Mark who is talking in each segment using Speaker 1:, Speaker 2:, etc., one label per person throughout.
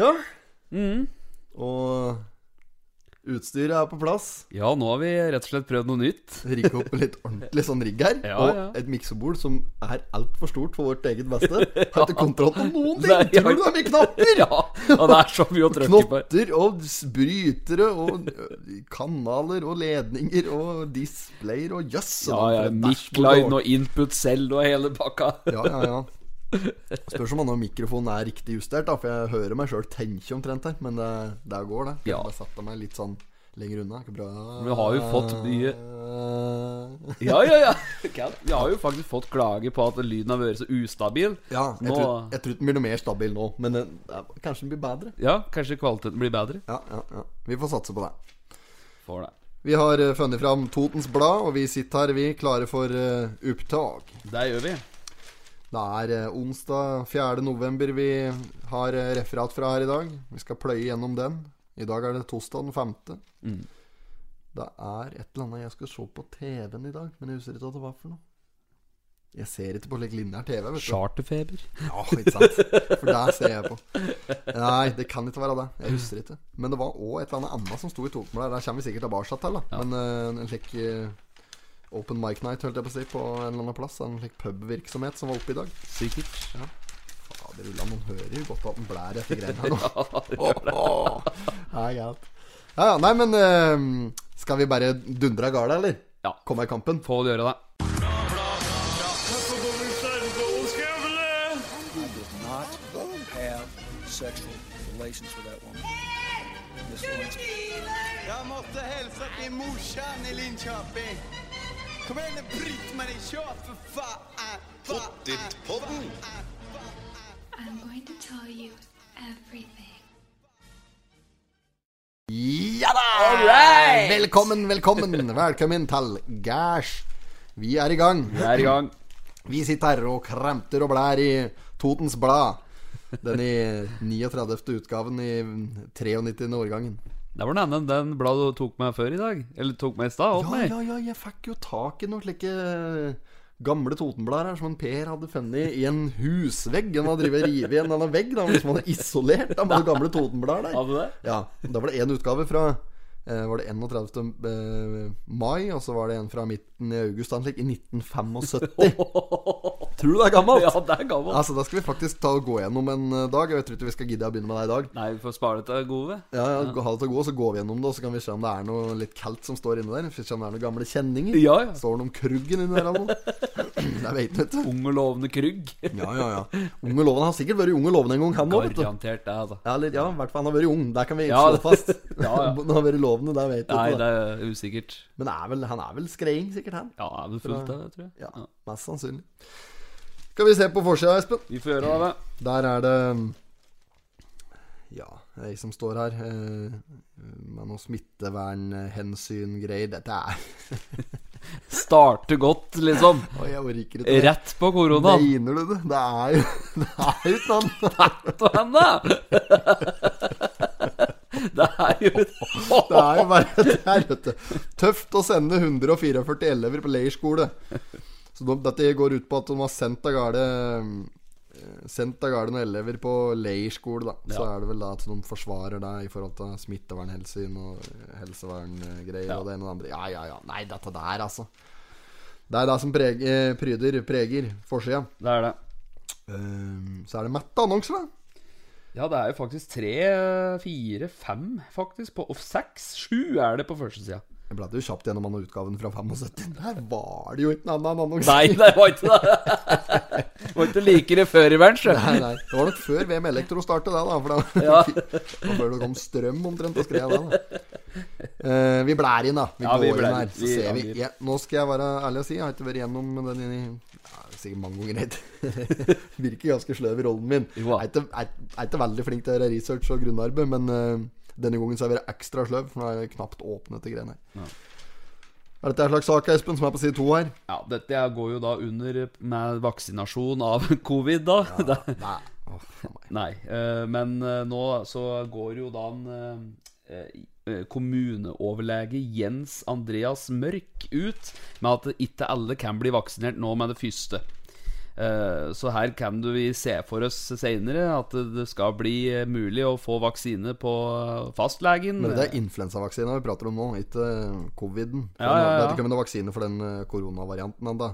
Speaker 1: Ja. Mm. Og utstyret er på plass.
Speaker 2: Ja, nå har vi rett og slett prøvd noe nytt.
Speaker 1: rigge opp en litt ordentlig sånn rigg her.
Speaker 2: Ja,
Speaker 1: og
Speaker 2: ja.
Speaker 1: et miksebord som er altfor stort for vårt eget beste. Har ikke kontroll på noen ting!
Speaker 2: Nei, jeg-
Speaker 1: Tror du det er mye knapper?
Speaker 2: Ja, ja, det er så mye å trykke på.
Speaker 1: Knotter og s- brytere og ø, kanaler og ledninger og displayer og jøss! og
Speaker 2: Ja,
Speaker 1: for
Speaker 2: ja,
Speaker 1: et dashboard det
Speaker 2: Mic-line
Speaker 1: var.
Speaker 2: og input selv og hele pakka.
Speaker 1: Ja, ja, ja. Spørs om når mikrofonen er riktig justert, da, for jeg hører meg sjøl tenke omtrent her. Men det, det går, det. Jeg
Speaker 2: Ja.
Speaker 1: bare setter meg litt sånn lenger unna. Ikke bra.
Speaker 2: Vi har jo fått
Speaker 1: mye
Speaker 2: Ja, ja, ja. Vi har jo faktisk fått klage på at lyden har vært så ustabil.
Speaker 1: Ja, jeg
Speaker 2: Nå-
Speaker 1: tror, jeg tror den blir noe mer stabil nå, men den, ja, kanskje den blir bedre.
Speaker 2: Ja, kanskje kvaliteten blir bedre.
Speaker 1: Ja, ja, ja. Vi får satse på det.
Speaker 2: Får det.
Speaker 1: Vi har eh, funnet fram Totens Blad, og vi sitter her, vi, klare for eh, opptak.
Speaker 2: Det gjør vi.
Speaker 1: Det er eh, onsdag 4. november vi har eh, referat fra her i dag. Vi skal pløye gjennom den. I dag er det torsdag den 5.
Speaker 2: Mm.
Speaker 1: Det er et eller annet jeg skal se på TV-en i dag, men jeg husker ikke hva det var for noe. Jeg ser ikke på slik lineær TV. vet du
Speaker 2: Charterfeber.
Speaker 1: Ja, ikke sant. For det ser jeg på. Nei, det kan ikke være det. Jeg husker ikke. Men det var òg et eller annet annet som sto i tokmål der. Det kommer vi sikkert tilbake til. da Men eh, en slik eh, open mic night, holdt jeg på å si, på en eller annen plass. En slik pubvirksomhet som var oppe i dag.
Speaker 2: Sikkert. Ja.
Speaker 1: Fader ullan, man hører jo godt at den blær etter greiene her nå. Nei, galt. Ja, ja, nei, men eh, skal vi bare dundre av gårde, eller?
Speaker 2: Ja.
Speaker 1: Komme i kampen?
Speaker 2: Få det gjøre, da.
Speaker 3: not have sexual relations with that woman. Miss Lewinsky.
Speaker 4: Jeg måtte hilse til morsan i Linköping. Kom igjen, Britt-Marie, kjør, for faen! Pottit-podden!
Speaker 5: I'm going to tell you everything.
Speaker 1: Ja da! Velkommen, velkommen. Velkommen til Gæsj. Vi er i gang.
Speaker 2: Vi er i gang.
Speaker 1: Vi sitter her og kremter og blær i Totens Blad. Den i 39. utgaven i 93. årgangen.
Speaker 2: Det var den ene den bladet du tok meg før i dag. Eller tok meg i stad.
Speaker 1: Ja,
Speaker 2: Oddny.
Speaker 1: ja, ja, jeg fikk jo tak i noen slike eh, gamle Totenblader her som en Per hadde funnet i en husvegg. Han hadde drevet og revet igjen denne vegg da, som han hadde isolert da, med de gamle Totenblader der.
Speaker 2: Hadde det?
Speaker 1: Ja, Da var det én utgave fra eh, Var det 31. eh, mai, og så var det en fra midten i august da, slik, i 1975. Tror du det er gammelt?
Speaker 2: Ja, det er gammelt.
Speaker 1: Altså, Da skal vi faktisk ta og gå gjennom en eh, dag. Jeg tror ikke vi skal gidde å begynne med det i dag.
Speaker 2: Nei, vi får spare dette gode.
Speaker 1: Ja, ja, Ha det til å gå, så går vi gjennom det, og så kan vi se om det er noe litt kaldt som står inni der. Se om det er noen gamle kjenninger.
Speaker 2: Ja, ja.
Speaker 1: Står det noe om kruggen inni der eller noe? Det veit du ikke.
Speaker 2: Ung og lovende Krygg.
Speaker 1: Ja, ja, ja. Unge Loven har sikkert vært i Unge Loven en gang, han òg, vet du.
Speaker 2: Garantert det, altså.
Speaker 1: Ja, eller, ja, i hvert fall han har vært ung. Der kan vi
Speaker 2: Ja,
Speaker 1: slå fast.
Speaker 2: ja, ja.
Speaker 1: Han har vært lovende, det vet du
Speaker 2: Nei,
Speaker 1: ikke.
Speaker 2: det
Speaker 1: da.
Speaker 2: er usikkert.
Speaker 1: Men er vel, han er vel skreing, sikkert, han.
Speaker 2: Ja, det er vel fullt av det, tror jeg.
Speaker 1: Ja, Mest sannsynlig. Skal vi se på forsida, Espen.
Speaker 2: Vi får gjøre det.
Speaker 1: Der er det mm, Ja, jeg som står her eh, med noe smittevernhensyn greier. Dette er
Speaker 2: Starte godt, liksom.
Speaker 1: Oi, jeg orker ikke.
Speaker 2: Rett på koronaen.
Speaker 1: Mener du det? Det er jo Det er jo ikke noe
Speaker 2: Ta henne! Det er jo
Speaker 1: Det er jo bare det er, vet du. Tøft å sende 144 elever på leirskole. Så de, dette går ut på at de har sendt av gårde eh, Sendt av gårde noen elever på leirskole, da. Så
Speaker 2: Ja.
Speaker 1: er det vel da at de forsvarer deg i forhold til smittevernhensyn og eh, helseverngreier
Speaker 2: Ja.
Speaker 1: og det ene og det andre. Ja, ja, ja. Nei, dette der, altså. Det er det som preger, eh, pryder, preger forsida.
Speaker 2: Det er det.
Speaker 1: Eh, så er det mette annonser, da.
Speaker 2: Ja, det er jo faktisk tre, fire, fem, faktisk. På, og seks, sju er det på første sida.
Speaker 1: Jeg bladde jo kjapt gjennom denne utgaven fra 75. Der var det jo ikke noen annen annonse.
Speaker 2: Nei, det var ikke det. Det Var ikke like det før i verden, sjø.
Speaker 1: Nei, nei. Det var nok før VM Elektro startet det, da. For det
Speaker 2: Ja.
Speaker 1: var det var før det kom strøm omtrent, og skrev jeg det. da Eh, Vi blær inn, da. Vi
Speaker 2: Ja,
Speaker 1: går
Speaker 2: vi
Speaker 1: inn
Speaker 2: blær
Speaker 1: her,
Speaker 2: inn.
Speaker 1: så
Speaker 2: Vi
Speaker 1: ser vi.
Speaker 2: angir.
Speaker 1: Ja, nå skal jeg være ærlig og si, jeg har ikke vært gjennom den i ja, sikkert mange ganger. helt. Virker ganske sløv i rollen min. Jeg
Speaker 2: Jo da.
Speaker 1: er ikke- jeg er ikke veldig flink til å gjøre research og grunnarbeid, men eh, denne gangen så har jeg vært ekstra sløv, for nå har jeg knapt åpnet de greiene her. Er dette en slags sak, Espen, som er på side to her?
Speaker 2: Ja, dette går jo da under med vaksinasjon av covid, da. Det-
Speaker 1: Nei. Åh, faen meg.
Speaker 2: Nei, eh, men eh, nå så går jo da en eh, eh, kommuneoverlege Jens Andreas Mørk ut med at ikke alle kan bli vaksinert nå med det første. Eh, Eh, Så her kan du vi se for oss seinere at det skal bli eh, mulig å få vaksine på eh, fastlegen.
Speaker 1: Men det er influensavaksina vi prater om nå, ikke eh, coviden. For
Speaker 2: Ja,
Speaker 1: nå-
Speaker 2: ja, ja.
Speaker 1: Det er ikke om det er vaksine for den eh, koronavarianten ennå.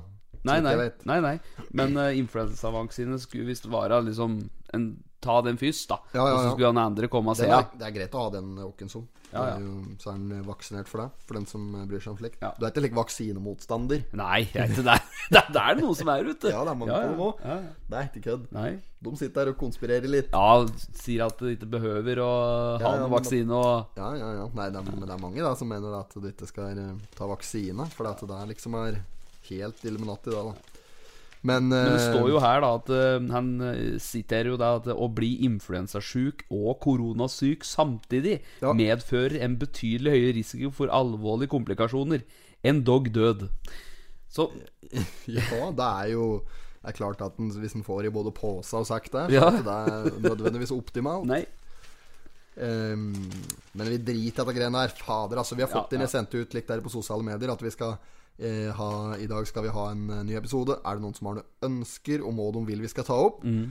Speaker 1: så vidt
Speaker 2: Nei,
Speaker 1: jeg
Speaker 2: nei,
Speaker 1: vet.
Speaker 2: nei, nei. Men uh, influensavaksine skulle visst være liksom en, Ta den først, da.
Speaker 1: Ja, ja,
Speaker 2: Og så
Speaker 1: ja.
Speaker 2: skulle han andre komme og se.
Speaker 1: Det
Speaker 2: Ja.
Speaker 1: er, det er greit å ha den åken som.
Speaker 2: Ja,
Speaker 1: Det
Speaker 2: ja.
Speaker 1: er jo- Så er den eh, vaksinert for deg, for den som eh, bryr seg om slikt.
Speaker 2: Ja.
Speaker 1: Du er ikke like vaksinemotstander.
Speaker 2: Nei, jeg er ikke der. det er der noen som er ute.
Speaker 1: Ja, det er mange på nå.
Speaker 2: Ja,
Speaker 1: Det er ikke kødd.
Speaker 2: nei.
Speaker 1: De sitter der og konspirerer litt.
Speaker 2: ja, sier at du ikke behøver å ha
Speaker 1: Ja, ja,
Speaker 2: noen
Speaker 1: men-
Speaker 2: vaksine og
Speaker 1: Ja, ja, ja. Nei, det er, men det er mange da som mener at du ikke skal eh, ta vaksine, for at det der liksom er helt Illuminati da, da. Men,
Speaker 2: Men det
Speaker 1: eh,
Speaker 2: står jo her da at eh, han eh, siterer jo da at å bli influensasjuk og koronasyk samtidig
Speaker 1: Ja.
Speaker 2: medfører en betydelig høyere risiko for alvorlige komplikasjoner. Endog død. Så
Speaker 1: Ja, det er jo det er klart at den, hvis en får i både pose og sekk der, så
Speaker 2: Ja.
Speaker 1: er ikke det nødvendigvis optimalt.
Speaker 2: Nei.
Speaker 1: Ehm, men vi driter i dette greiene her. Fader, altså. Vi har fått
Speaker 2: Ja,
Speaker 1: inn
Speaker 2: ja.
Speaker 1: Jeg sendte ut litt der på sosiale medier at vi skal eh, ha I dag skal vi ha en eh, ny episode. Er det noen som har noen ønsker om hva de vil vi skal ta opp?
Speaker 2: Mm.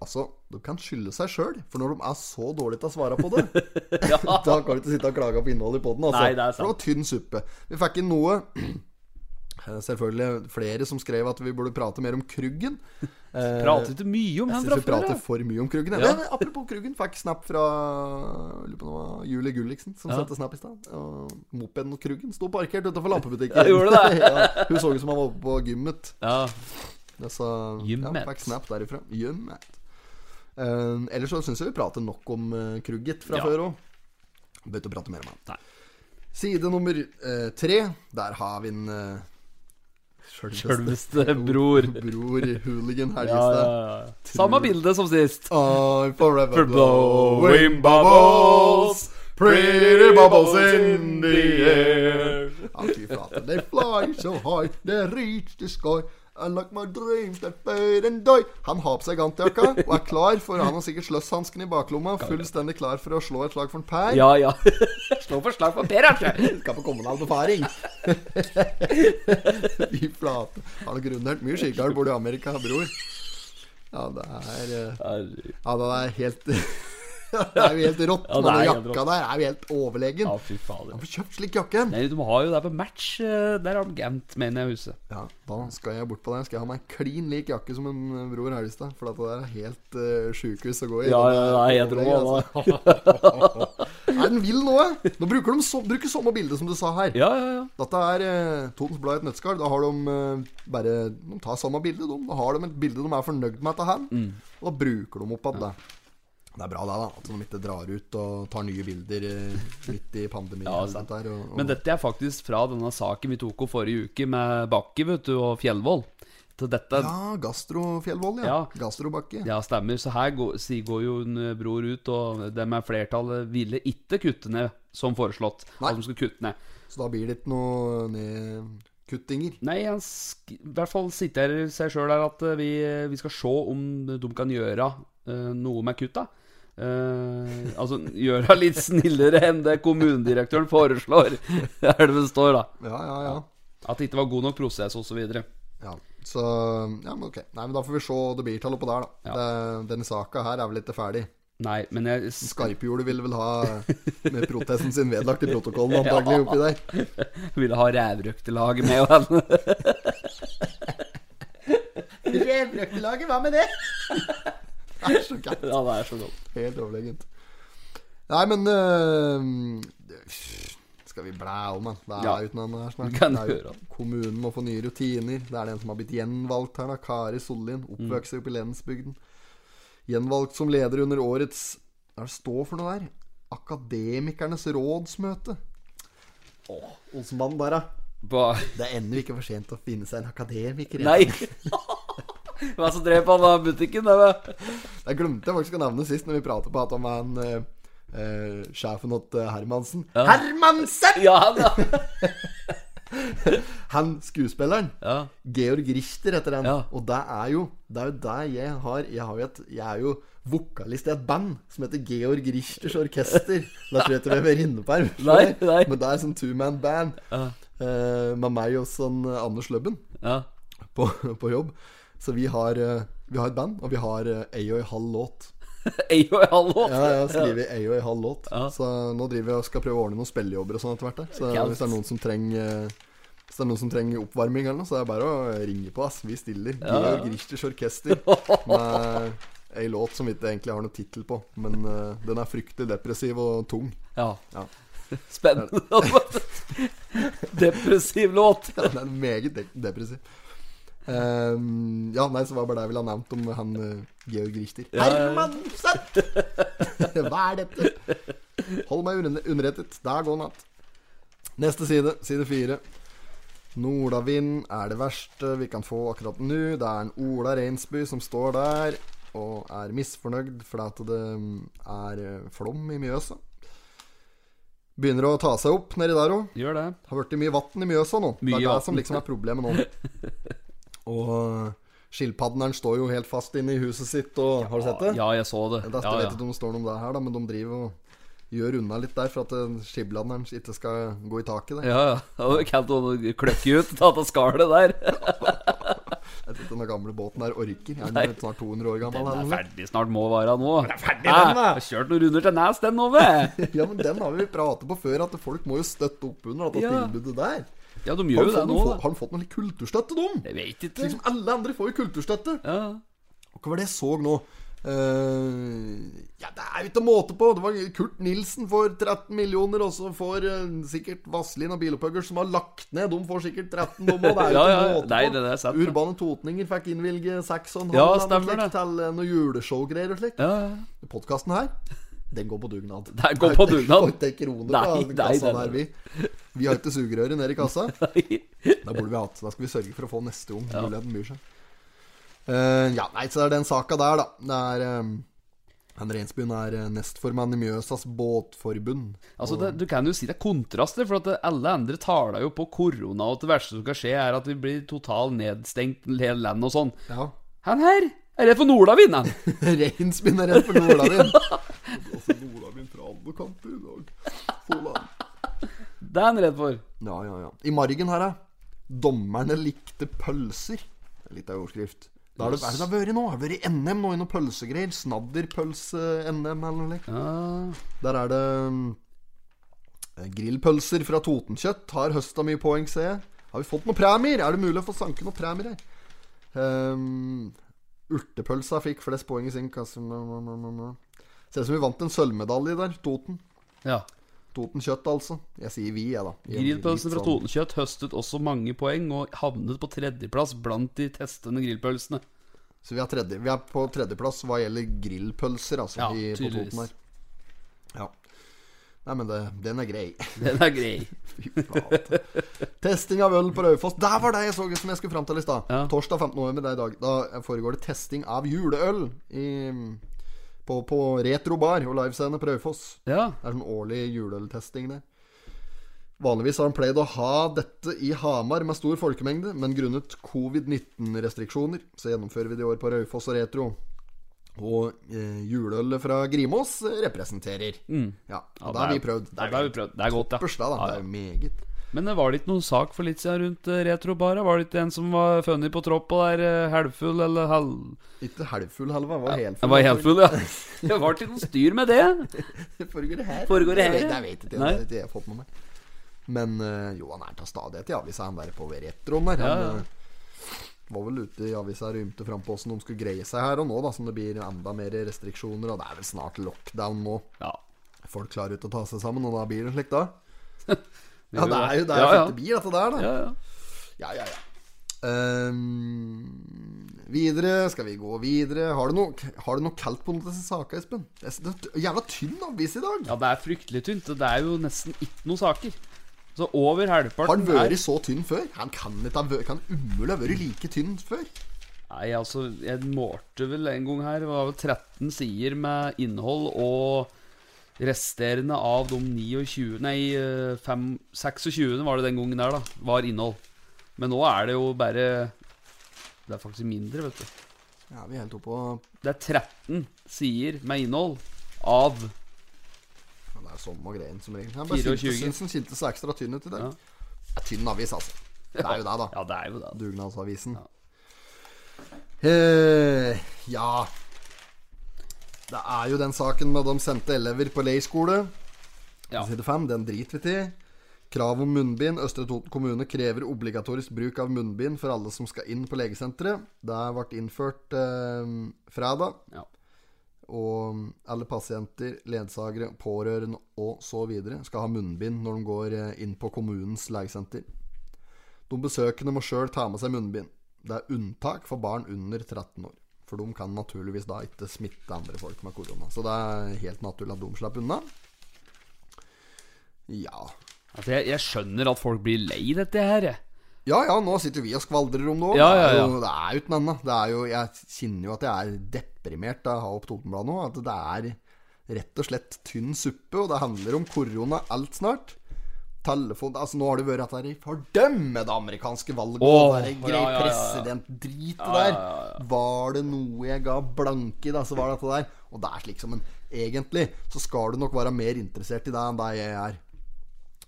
Speaker 1: Altså, de kan skylde seg sjøl, for når de er så dårlige til å svare på det Da kan du ikke sitte og klage på innholdet i poden, altså.
Speaker 2: Nei, det er
Speaker 1: For
Speaker 2: sant.
Speaker 1: det var tynn suppe. Vi fikk inn noe Eh, Selvfølgelig flere som skrev at vi burde prate mer om Kruggen. Eh,
Speaker 2: Prater ikke mye om
Speaker 1: jeg
Speaker 2: han
Speaker 1: syns
Speaker 2: fra
Speaker 1: vi
Speaker 2: før.
Speaker 1: prater
Speaker 2: ja.
Speaker 1: for mye om Kruggen. jeg.
Speaker 2: Ja.
Speaker 1: Men apropos Kruggen, fikk snap fra jeg lurer på om det var Julie Gulliksen, som
Speaker 2: Ja.
Speaker 1: sendte snap i stad. Og mopeden og Kruggen sto parkert utenfor
Speaker 2: Ja,
Speaker 1: lampebutikken.
Speaker 2: gjorde det?
Speaker 1: ja, hun så ut som han var oppe på gymmet.
Speaker 2: Ja.
Speaker 1: Så ja,
Speaker 2: Gymmet.
Speaker 1: fikk snap derifra. Gymmet. Eh, ellers så syns jeg vi prater nok om eh, Krugget fra
Speaker 2: Ja.
Speaker 1: før òg. Bør ikke prate mer om han.
Speaker 2: Nei.
Speaker 1: Side nummer eh, tre. Der har vi en eh, Sjølveste
Speaker 2: Selveste bror.
Speaker 1: bror hooligan
Speaker 2: Ja,
Speaker 1: Helgestad.
Speaker 2: ja, ja. Samme bilde som sist.
Speaker 1: I'm forever
Speaker 2: For
Speaker 1: blowing
Speaker 2: blowing
Speaker 1: bubbles,
Speaker 2: bubbles,
Speaker 1: pretty bubbles in the air. Ja, fy flate. They fly so high, they reach the sky. And like my dreams, they fade and die. Han har på seg gantjakka og er klar, for han har sikkert sløsshansken i baklomma. Fullstendig klar for å slå et slag for en Per.
Speaker 2: Ja, ja. Slå for slag på Per, altså.
Speaker 1: Skal på kommende befaring. Fy flate. Har nok rundert mye skikard bor du i Amerika, bror. Ja, det er eh,
Speaker 2: Herregud.
Speaker 1: Ja, det er helt Det er jo helt rått.
Speaker 2: Ja, det
Speaker 1: men
Speaker 2: er
Speaker 1: den
Speaker 2: helt
Speaker 1: jakka der er jo helt overlegen.
Speaker 2: Ja, fy fader.
Speaker 1: Han får kjøpt slik jakke.
Speaker 2: Nei, de har jo det på match. eh, Der har de Gant, mener jeg huset.
Speaker 1: Ja, da skal jeg bort på den. Skal jeg ha meg klin lik jakke som en eh, bror Helgestad. For dette der er helt uh, sjukehus å gå i.
Speaker 2: Ja,
Speaker 1: Den
Speaker 2: ja,
Speaker 1: er
Speaker 2: ja, jeg altså.
Speaker 1: overlegen,
Speaker 2: tror han
Speaker 1: altså.
Speaker 2: var
Speaker 1: Er den vill nå, eh? Nå bruker de så, bruker samme bilde som du sa her.
Speaker 2: Ja, ja, ja.
Speaker 1: Dette er uh, Totens Blad i et nøttskall. Da har de eh, bare De tar samme bilde, de. Da har de et bilde de er fornøyd med etter her.
Speaker 2: Mm.
Speaker 1: Og da bruker de opp igjen det. Det er bra det, da. At de ikke drar ut og tar nye bilder eh, midt i pandemien.
Speaker 2: Ja,
Speaker 1: og
Speaker 2: sant.
Speaker 1: sånt der, og, og,
Speaker 2: Men dette er faktisk fra denne saken vi tok opp forrige uke med Bakke vet du, og Fjellvoll. Så dette ja.
Speaker 1: Ja, Gastrofjellvoll, ja.
Speaker 2: Ja.
Speaker 1: Gastrobakke.
Speaker 2: stemmer. Så her går, sier- går jo en eh, bror ut, og dem er flertallet ville ikke kutte ned som foreslått.
Speaker 1: Nei.
Speaker 2: At de skulle kutte ned.
Speaker 1: Så da blir det ikke noe nedkuttinger.
Speaker 2: Nei, han sk i hvert fall sitter seg sjøl her at eh, vi, vi skal se om de kan gjøre eh, noe med kutta. Eh, altså gjøre litt snillere enn det kommunedirektøren foreslår. Det er det det står, da.
Speaker 1: Ja, ja, ja.
Speaker 2: At det ikke var god nok prosess osv.
Speaker 1: ja. Så Ja, men ok. Nei, men da får vi se hva det blir til oppå der, da.
Speaker 2: Ja.
Speaker 1: Det, denne saka her er vel ikke ferdig.
Speaker 2: Nei, men jeg s-
Speaker 1: Skarphjulet ville vel ha med protesten sin vedlagt i protokollen, antagelig, oppi der.
Speaker 2: ville ha rævrøktelaget med. og alt.
Speaker 1: Revrøktelaget, hva med det? Det er så gærent.
Speaker 2: ja, det er så godt.
Speaker 1: Helt overlegent. Nei, men øh, Skal vi blæ om, da? Det er
Speaker 2: Ja.
Speaker 1: uten han her snart.
Speaker 2: Vi kan
Speaker 1: Det er jo-
Speaker 2: gjøre det.
Speaker 1: Kommunen må få nye rutiner. Det er den som har blitt gjenvalgt her, da. Kari Sollien. Oppvokst oppe i lensbygden. Gjenvalgt som leder under årets Hva er det står for noe der? Akademikernes rådsmøte. Åh, Olsenmannen der, da.
Speaker 2: Ba
Speaker 1: Det er ennå ikke for sent å finne seg en akademiker.
Speaker 2: Nei! Hva som drev han av butikken? Det var...
Speaker 1: Jeg glemte jeg faktisk å nevne sist når vi pratet på at om han eh, eh, sjefen hos eh, Hermansen Hermansen!
Speaker 2: Ja, han, ja.
Speaker 1: Han skuespilleren.
Speaker 2: ja.
Speaker 1: Georg Richter heter han.
Speaker 2: Ja.
Speaker 1: Og det er jo Det er jo det jeg har Jeg, har jo et, jeg er jo vokalist i et band som heter Georg Richters Orkester. Da tror jeg ikke vi er inne på her.
Speaker 2: Nei, nei.
Speaker 1: Men det er sånn two man band. Eh, med meg og sånn eh, Anders Løbben
Speaker 2: ja.
Speaker 1: på, på jobb. Så vi har, eh, vi har et band, og vi har eh, ei og ei halv låt.
Speaker 2: Ayo, hallo!
Speaker 1: Ja, jeg har skrevet ei og ei halv låt. Så nå driver jeg og skal prøve å ordne noen spillejobber og sånn etter hvert. da. Så
Speaker 2: Kult.
Speaker 1: hvis det er noen som trenger eh, hvis det er noen som trenger oppvarming, eller noe, så er det bare å ringe på. ass Vi stiller. Georg Richters orkester med ei låt som vi ikke egentlig har noen tittel på. Men eh, den er fryktelig depressiv og tung.
Speaker 2: Ja.
Speaker 1: Ja.
Speaker 2: Spennende. Depressiv låt.
Speaker 1: Ja, den er meget de depressiv. Ehm, ja, nei, så var det bare det jeg ville ha nevnt om han eh, Georg Richter. Herman Sett! Hva er dette? Hold meg unne- underrettet. Dag og natt. Neste side, side fire. Nordavind er det verste vi kan få akkurat nå. Det er en Ola Reinsby som står der og er misfornøyd fordi at det mm, er eh, flom i Mjøsa. Begynner å ta seg opp nedi der òg.
Speaker 2: Gjør det.
Speaker 1: Det har blitt mye vann i Mjøsa nå. det
Speaker 2: Mye
Speaker 1: er det
Speaker 2: vatten.
Speaker 1: som liksom er problemet nå. Og skilpadden her står jo helt fast inne i huset sitt, og har du sett det?
Speaker 2: Ja, jeg så det.
Speaker 1: Dette
Speaker 2: Ja,
Speaker 1: vet
Speaker 2: ja.
Speaker 1: ikke om det står noe om det her, da, men de driver og gjør unna litt der for at eh, skilpadden ikke skal gå i taket. Der.
Speaker 2: Ja, ja. Og Kan du kløkke ut ta av skallet der?
Speaker 1: Jeg vet ikke om den gamle båten der orker. Jeg er den snart 200 år gammel.
Speaker 2: Den er
Speaker 1: eller noe.
Speaker 2: ferdig snart, må være nå. Den er ferdig, den, da. Har kjørt noen runder til Nes, den nå, vet
Speaker 1: Ja, men den har vi pratet på før, at folk må jo støtte opp under dette
Speaker 2: Ja.
Speaker 1: tilbudet der.
Speaker 2: Ja, de
Speaker 1: Har
Speaker 2: gjør
Speaker 1: de
Speaker 2: jo det
Speaker 1: fått,
Speaker 2: nå,
Speaker 1: noen,
Speaker 2: da.
Speaker 1: har de fått noen kulturstøtte, de?
Speaker 2: Jeg vet ikke. liksom.
Speaker 1: Slik som alle andre får jo kulturstøtte.
Speaker 2: Ja.
Speaker 1: Og Hva var det jeg så nå? Eh, ja, det er jo ikke måte på! Det var Kurt Nilsen får 13 millioner, og så får eh, sikkert Vazelin og Bilopphøggers, som har lagt ned, de får sikkert 13, de òg. Det er jo
Speaker 2: Ja,
Speaker 1: ikke
Speaker 2: ja,
Speaker 1: måte
Speaker 2: nei,
Speaker 1: på.
Speaker 2: det er sant, det.
Speaker 1: Urbane Totninger fikk innvilge 6,5
Speaker 2: Ja, stemmer det.
Speaker 1: til eh, noe juleshowgreier og slik.
Speaker 2: ja, ja.
Speaker 1: Podkasten her, den går på dugnad.
Speaker 2: Den går på dugnad.
Speaker 1: Får ikke en krone
Speaker 2: Nei,
Speaker 1: fra
Speaker 2: nei,
Speaker 1: kassa
Speaker 2: den-
Speaker 1: der, vi. Vi har ikke sugerøret nede i kassa.
Speaker 2: Nei.
Speaker 1: Da burde vi hatt Da skal vi sørge for å få neste gang. Muligheten byr seg. Eh, ja, nei, så det er den saka der, da. Det er eh, Han Reinsbyen er eh, nestformann i Mjøsas båtforbund.
Speaker 2: Altså, det, Du kan jo si det er kontraster, for at det- alle andre taler jo på korona, og at det verste som kan skje, er at vi blir totalt nedstengt, hele landet og sånn.
Speaker 1: Ja.
Speaker 2: Han her er redd for Nordavind, han.
Speaker 1: Reinsbyen er redd for Nordavind. altså, Nordavind fra alle kanter i dag. Solan.
Speaker 2: Det er han redd for.
Speaker 1: Ja, ja, ja. I margen her, da. Dommerne likte pølser. Det er Litt av overskrift. Da er det, er det det har vært nå? Har det vært NM nå i noen pølsegreier? Snadderpølse-NM eller noe? likt?
Speaker 2: Ja.
Speaker 1: Der er det mm, eh, grillpølser fra Totenkjøtt. Har høsta mye poeng, ser jeg. Har vi fått noen premier? Er det mulig å få sanke noen premier her? Ehm, urtepølsa fikk flest poeng i sin kasse. Ser ut som vi vant en sølvmedalje der. Toten.
Speaker 2: ja.
Speaker 1: Toten kjøtt, altså. Jeg sier vi, jeg, da. I en
Speaker 2: Grillpølsen
Speaker 1: litt
Speaker 2: fra
Speaker 1: sånn-
Speaker 2: Totenkjøtt høstet også mange poeng, og havnet på tredjeplass blant de testende grillpølsene.
Speaker 1: Så vi er, tredje, vi er på tredjeplass hva gjelder grillpølser, altså.
Speaker 2: Ja,
Speaker 1: i, på
Speaker 2: tydeligvis.
Speaker 1: Toten her. Ja. Nei, men det, den er grei.
Speaker 2: Den er grei.
Speaker 1: Fy flate. testing av øl på Raufoss. Der var det jeg så som jeg skulle fram til i stad.
Speaker 2: Ja.
Speaker 1: Torsdag 15. november, det er i dag. Da foregår det testing av juleøl i, på, på Retro Bar og livescene på Raufoss.
Speaker 2: Ja.
Speaker 1: Det er sånn årlig juleøltesting, det. Vanligvis har han pleid å ha dette i Hamar med stor folkemengde, men grunnet covid-19-restriksjoner så gjennomfører vi det i år på Raufoss og Retro. Og eh, juleølet fra Grimås representerer. Ja, og da har vi prøvd.
Speaker 2: Mm. Det har vi prøvd. Det er godt, ja.
Speaker 1: Toppers, da, da.
Speaker 2: Ja,
Speaker 1: Det
Speaker 2: ja.
Speaker 1: er jo meget.
Speaker 2: Men det var det ikke noen sak for litt siden rundt eh, retrobara? Var det ikke en som var funnet på troppa der, eh, halvfull eller halv...
Speaker 1: Ikke halvfull, Halva. Var helfull.
Speaker 2: Jeg var helt full, ja. Det var ikke noe styr med det.
Speaker 1: Foregår det her?
Speaker 2: Foregår det her,
Speaker 1: Jeg vet,
Speaker 2: ja.
Speaker 1: jeg vet ikke.
Speaker 2: Nei.
Speaker 1: Det har ikke jeg fått med meg. Men eh, jo, han er til stadighet i avisa, han der på retroen der. Han
Speaker 2: Ja, ja.
Speaker 1: eh, var vel ute i avisa og rymte frampå åssen de skulle greie seg her og nå, da, som det blir enda mer restriksjoner. Og det er vel snart lockdown nå.
Speaker 2: Ja.
Speaker 1: Folk klarer ikke å ta seg sammen, og da blir det slik, da. Ja,
Speaker 2: gjør
Speaker 1: det er jo
Speaker 2: det.
Speaker 1: det er
Speaker 2: Ja, ja.
Speaker 1: fette bier, dette der, da.
Speaker 2: Ja, ja.
Speaker 1: Ja, ja, ja. Ehm, videre, skal vi gå videre Har du noe, har du noe kaldt på noen av disse sakene, Espen? Jeg synes Det er jævla tynn avis i dag!
Speaker 2: ja, det er fryktelig tynt. og Det er jo nesten ikke noen saker. Så over
Speaker 1: Har
Speaker 2: halvparten
Speaker 1: han
Speaker 2: er-
Speaker 1: vært så tynn før? Han kan, ikke, ha væ- kan umulig ha vært like tynn før.
Speaker 2: Nei, altså, jeg målte vel en gang her Det var vel 13 sider med innhold Og resterende av de 29 Nei, eh, fem- 26 var det den gangen der da Var innhold Men nå er det jo bare Det er faktisk mindre, vet du
Speaker 1: Ja, vi er helt oppe på
Speaker 2: Det er 13 sider med innhold Av
Speaker 1: ja, Det er samme greien som regel. Han bare syntes-
Speaker 2: 24.
Speaker 1: syntes den kjentes ekstra tynn ut i dag.
Speaker 2: Ja.
Speaker 1: Det er tynn avis, altså. Det er jo det, da.
Speaker 2: Ja, det er jo det
Speaker 1: Dugnadsavisen. Eh, ja Det er jo den saken med de sendte elever på leirskole.
Speaker 2: Ja.
Speaker 1: Side fem, den driter vi til. Krav om munnbind. Østre Toten kommune krever obligatorisk bruk av munnbind for alle som skal inn på legesenteret. Det ble innført eh, fredag.
Speaker 2: Ja.
Speaker 1: Og alle pasienter, ledsagere, pårørende og så videre skal ha munnbind når de går eh, inn på kommunens legesenter. De besøkende må sjøl ta med seg munnbind. Det er unntak for barn under 13 år. For de kan naturligvis da ikke smitte andre folk med korona. Så det er helt naturlig at de slipper unna. Ja
Speaker 2: Altså, jeg, jeg skjønner at folk blir lei dette her, jeg.
Speaker 1: Ja ja, nå sitter vi og skvaldrer om det òg.
Speaker 2: Ja, ja,
Speaker 1: Det er
Speaker 2: ja.
Speaker 1: jo- Det er jo ikke noe annet. Det er jo, jeg kjenner jo at jeg er deprimert av å ha opp Totenbladet nå. At det er rett og slett tynn suppe, og det handler om korona alt snart. Telefon Altså, nå har det vært dette her i fordømme det amerikanske valget og
Speaker 2: Åh,
Speaker 1: det der
Speaker 2: ja, ja, ja, ja.
Speaker 1: presidentdritet der. Var det noe jeg ga blanke i, da, så var det dette der. Og det er slik som en Egentlig så skal du nok være mer interessert i det enn det jeg er.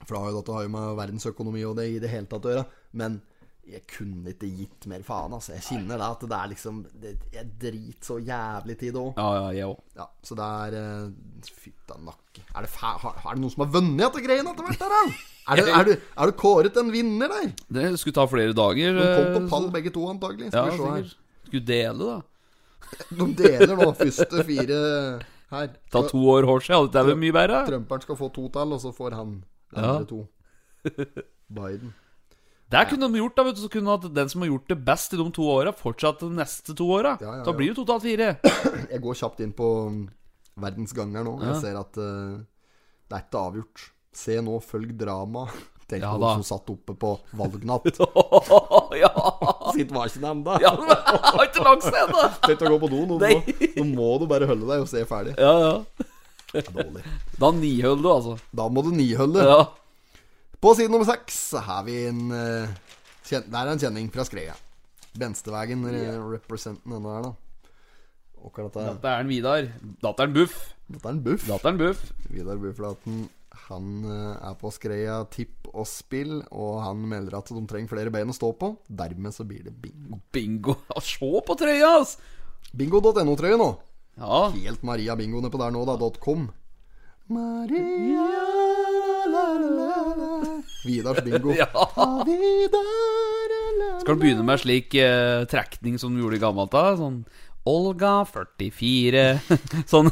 Speaker 1: For da har jo dette har jo med verdensøkonomi og det i det hele tatt å gjøre. Men jeg kunne ikke gitt mer faen, altså. Jeg kjenner det at det er liksom det, Jeg driter så jævlig tid òg.
Speaker 2: Ja, ja, jeg òg.
Speaker 1: Ja, så det er eh, Fytta nakke. Er det, fæ har, er det noen som har vunnet dette greiene etter hvert, der, da? Er du, er, du, er du kåret en vinner der?
Speaker 2: Det skulle ta flere dager.
Speaker 1: De kom på
Speaker 2: eh,
Speaker 1: pall
Speaker 2: så-
Speaker 1: begge to, antagelig.
Speaker 2: Ja,
Speaker 1: Skal vi se her.
Speaker 2: sikkert. Skulle dele, da.
Speaker 1: De deler nå første fire her.
Speaker 2: Ta to år hårsel, ja, det er vel mye bedre?
Speaker 1: Trumperen skal få to til, og så får han
Speaker 2: Ja.
Speaker 1: andre to. Biden.
Speaker 2: Der kunne de gjort da, vet du, så kunne at den som har gjort det best i de to åra, fortsatt de neste to åra.
Speaker 1: Ja, ja,
Speaker 2: Da
Speaker 1: ja.
Speaker 2: blir det jo totalt fire.
Speaker 1: Jeg går kjapt inn på um, verdensganger nå. Jeg ser at eh, det er ikke avgjort. Se nå, følg drama. Tenk
Speaker 2: Ja
Speaker 1: på
Speaker 2: da.
Speaker 1: noen som satt oppe på valgnatt.
Speaker 2: ja,
Speaker 1: Sitt var ikke ennå.
Speaker 2: ja, men jeg har ikke langt sted, da.
Speaker 1: Tenk å gå på do. Nå,
Speaker 2: Nei.
Speaker 1: må- nå må du bare holde deg og se ferdig.
Speaker 2: Ja, ja.
Speaker 1: Det er dårlig.
Speaker 2: Da nihøl du, altså.
Speaker 1: Da må du nihølle.
Speaker 2: Ja.
Speaker 1: På side nummer seks har vi en eh, kjen Der er en kjenning fra Skreia. Benstevegen yeah. representen denne her, da. Og hva er dette?
Speaker 2: Dette er en Vidar. Datteren Buff.
Speaker 1: Dette er en buff.
Speaker 2: Datteren Buff.
Speaker 1: Vidar Buflaten. Han eh, er på Skreia tipp og spill, og han melder at de trenger flere bein å stå på. Dermed så blir det bingo.
Speaker 2: Bingo. Ja, Se på trøya, ass.
Speaker 1: Bingo.no-trøye nå.
Speaker 2: Ja.
Speaker 1: Helt Maria Bingo nede på der nå, da. .com. Maria la, la, la, la. Vidars bingo.
Speaker 2: ja.
Speaker 1: Ah, Vidar la, la.
Speaker 2: Skal du begynne med slik eh, trekning som du gjorde i gammelt da? Sånn Olga 44 Sånn.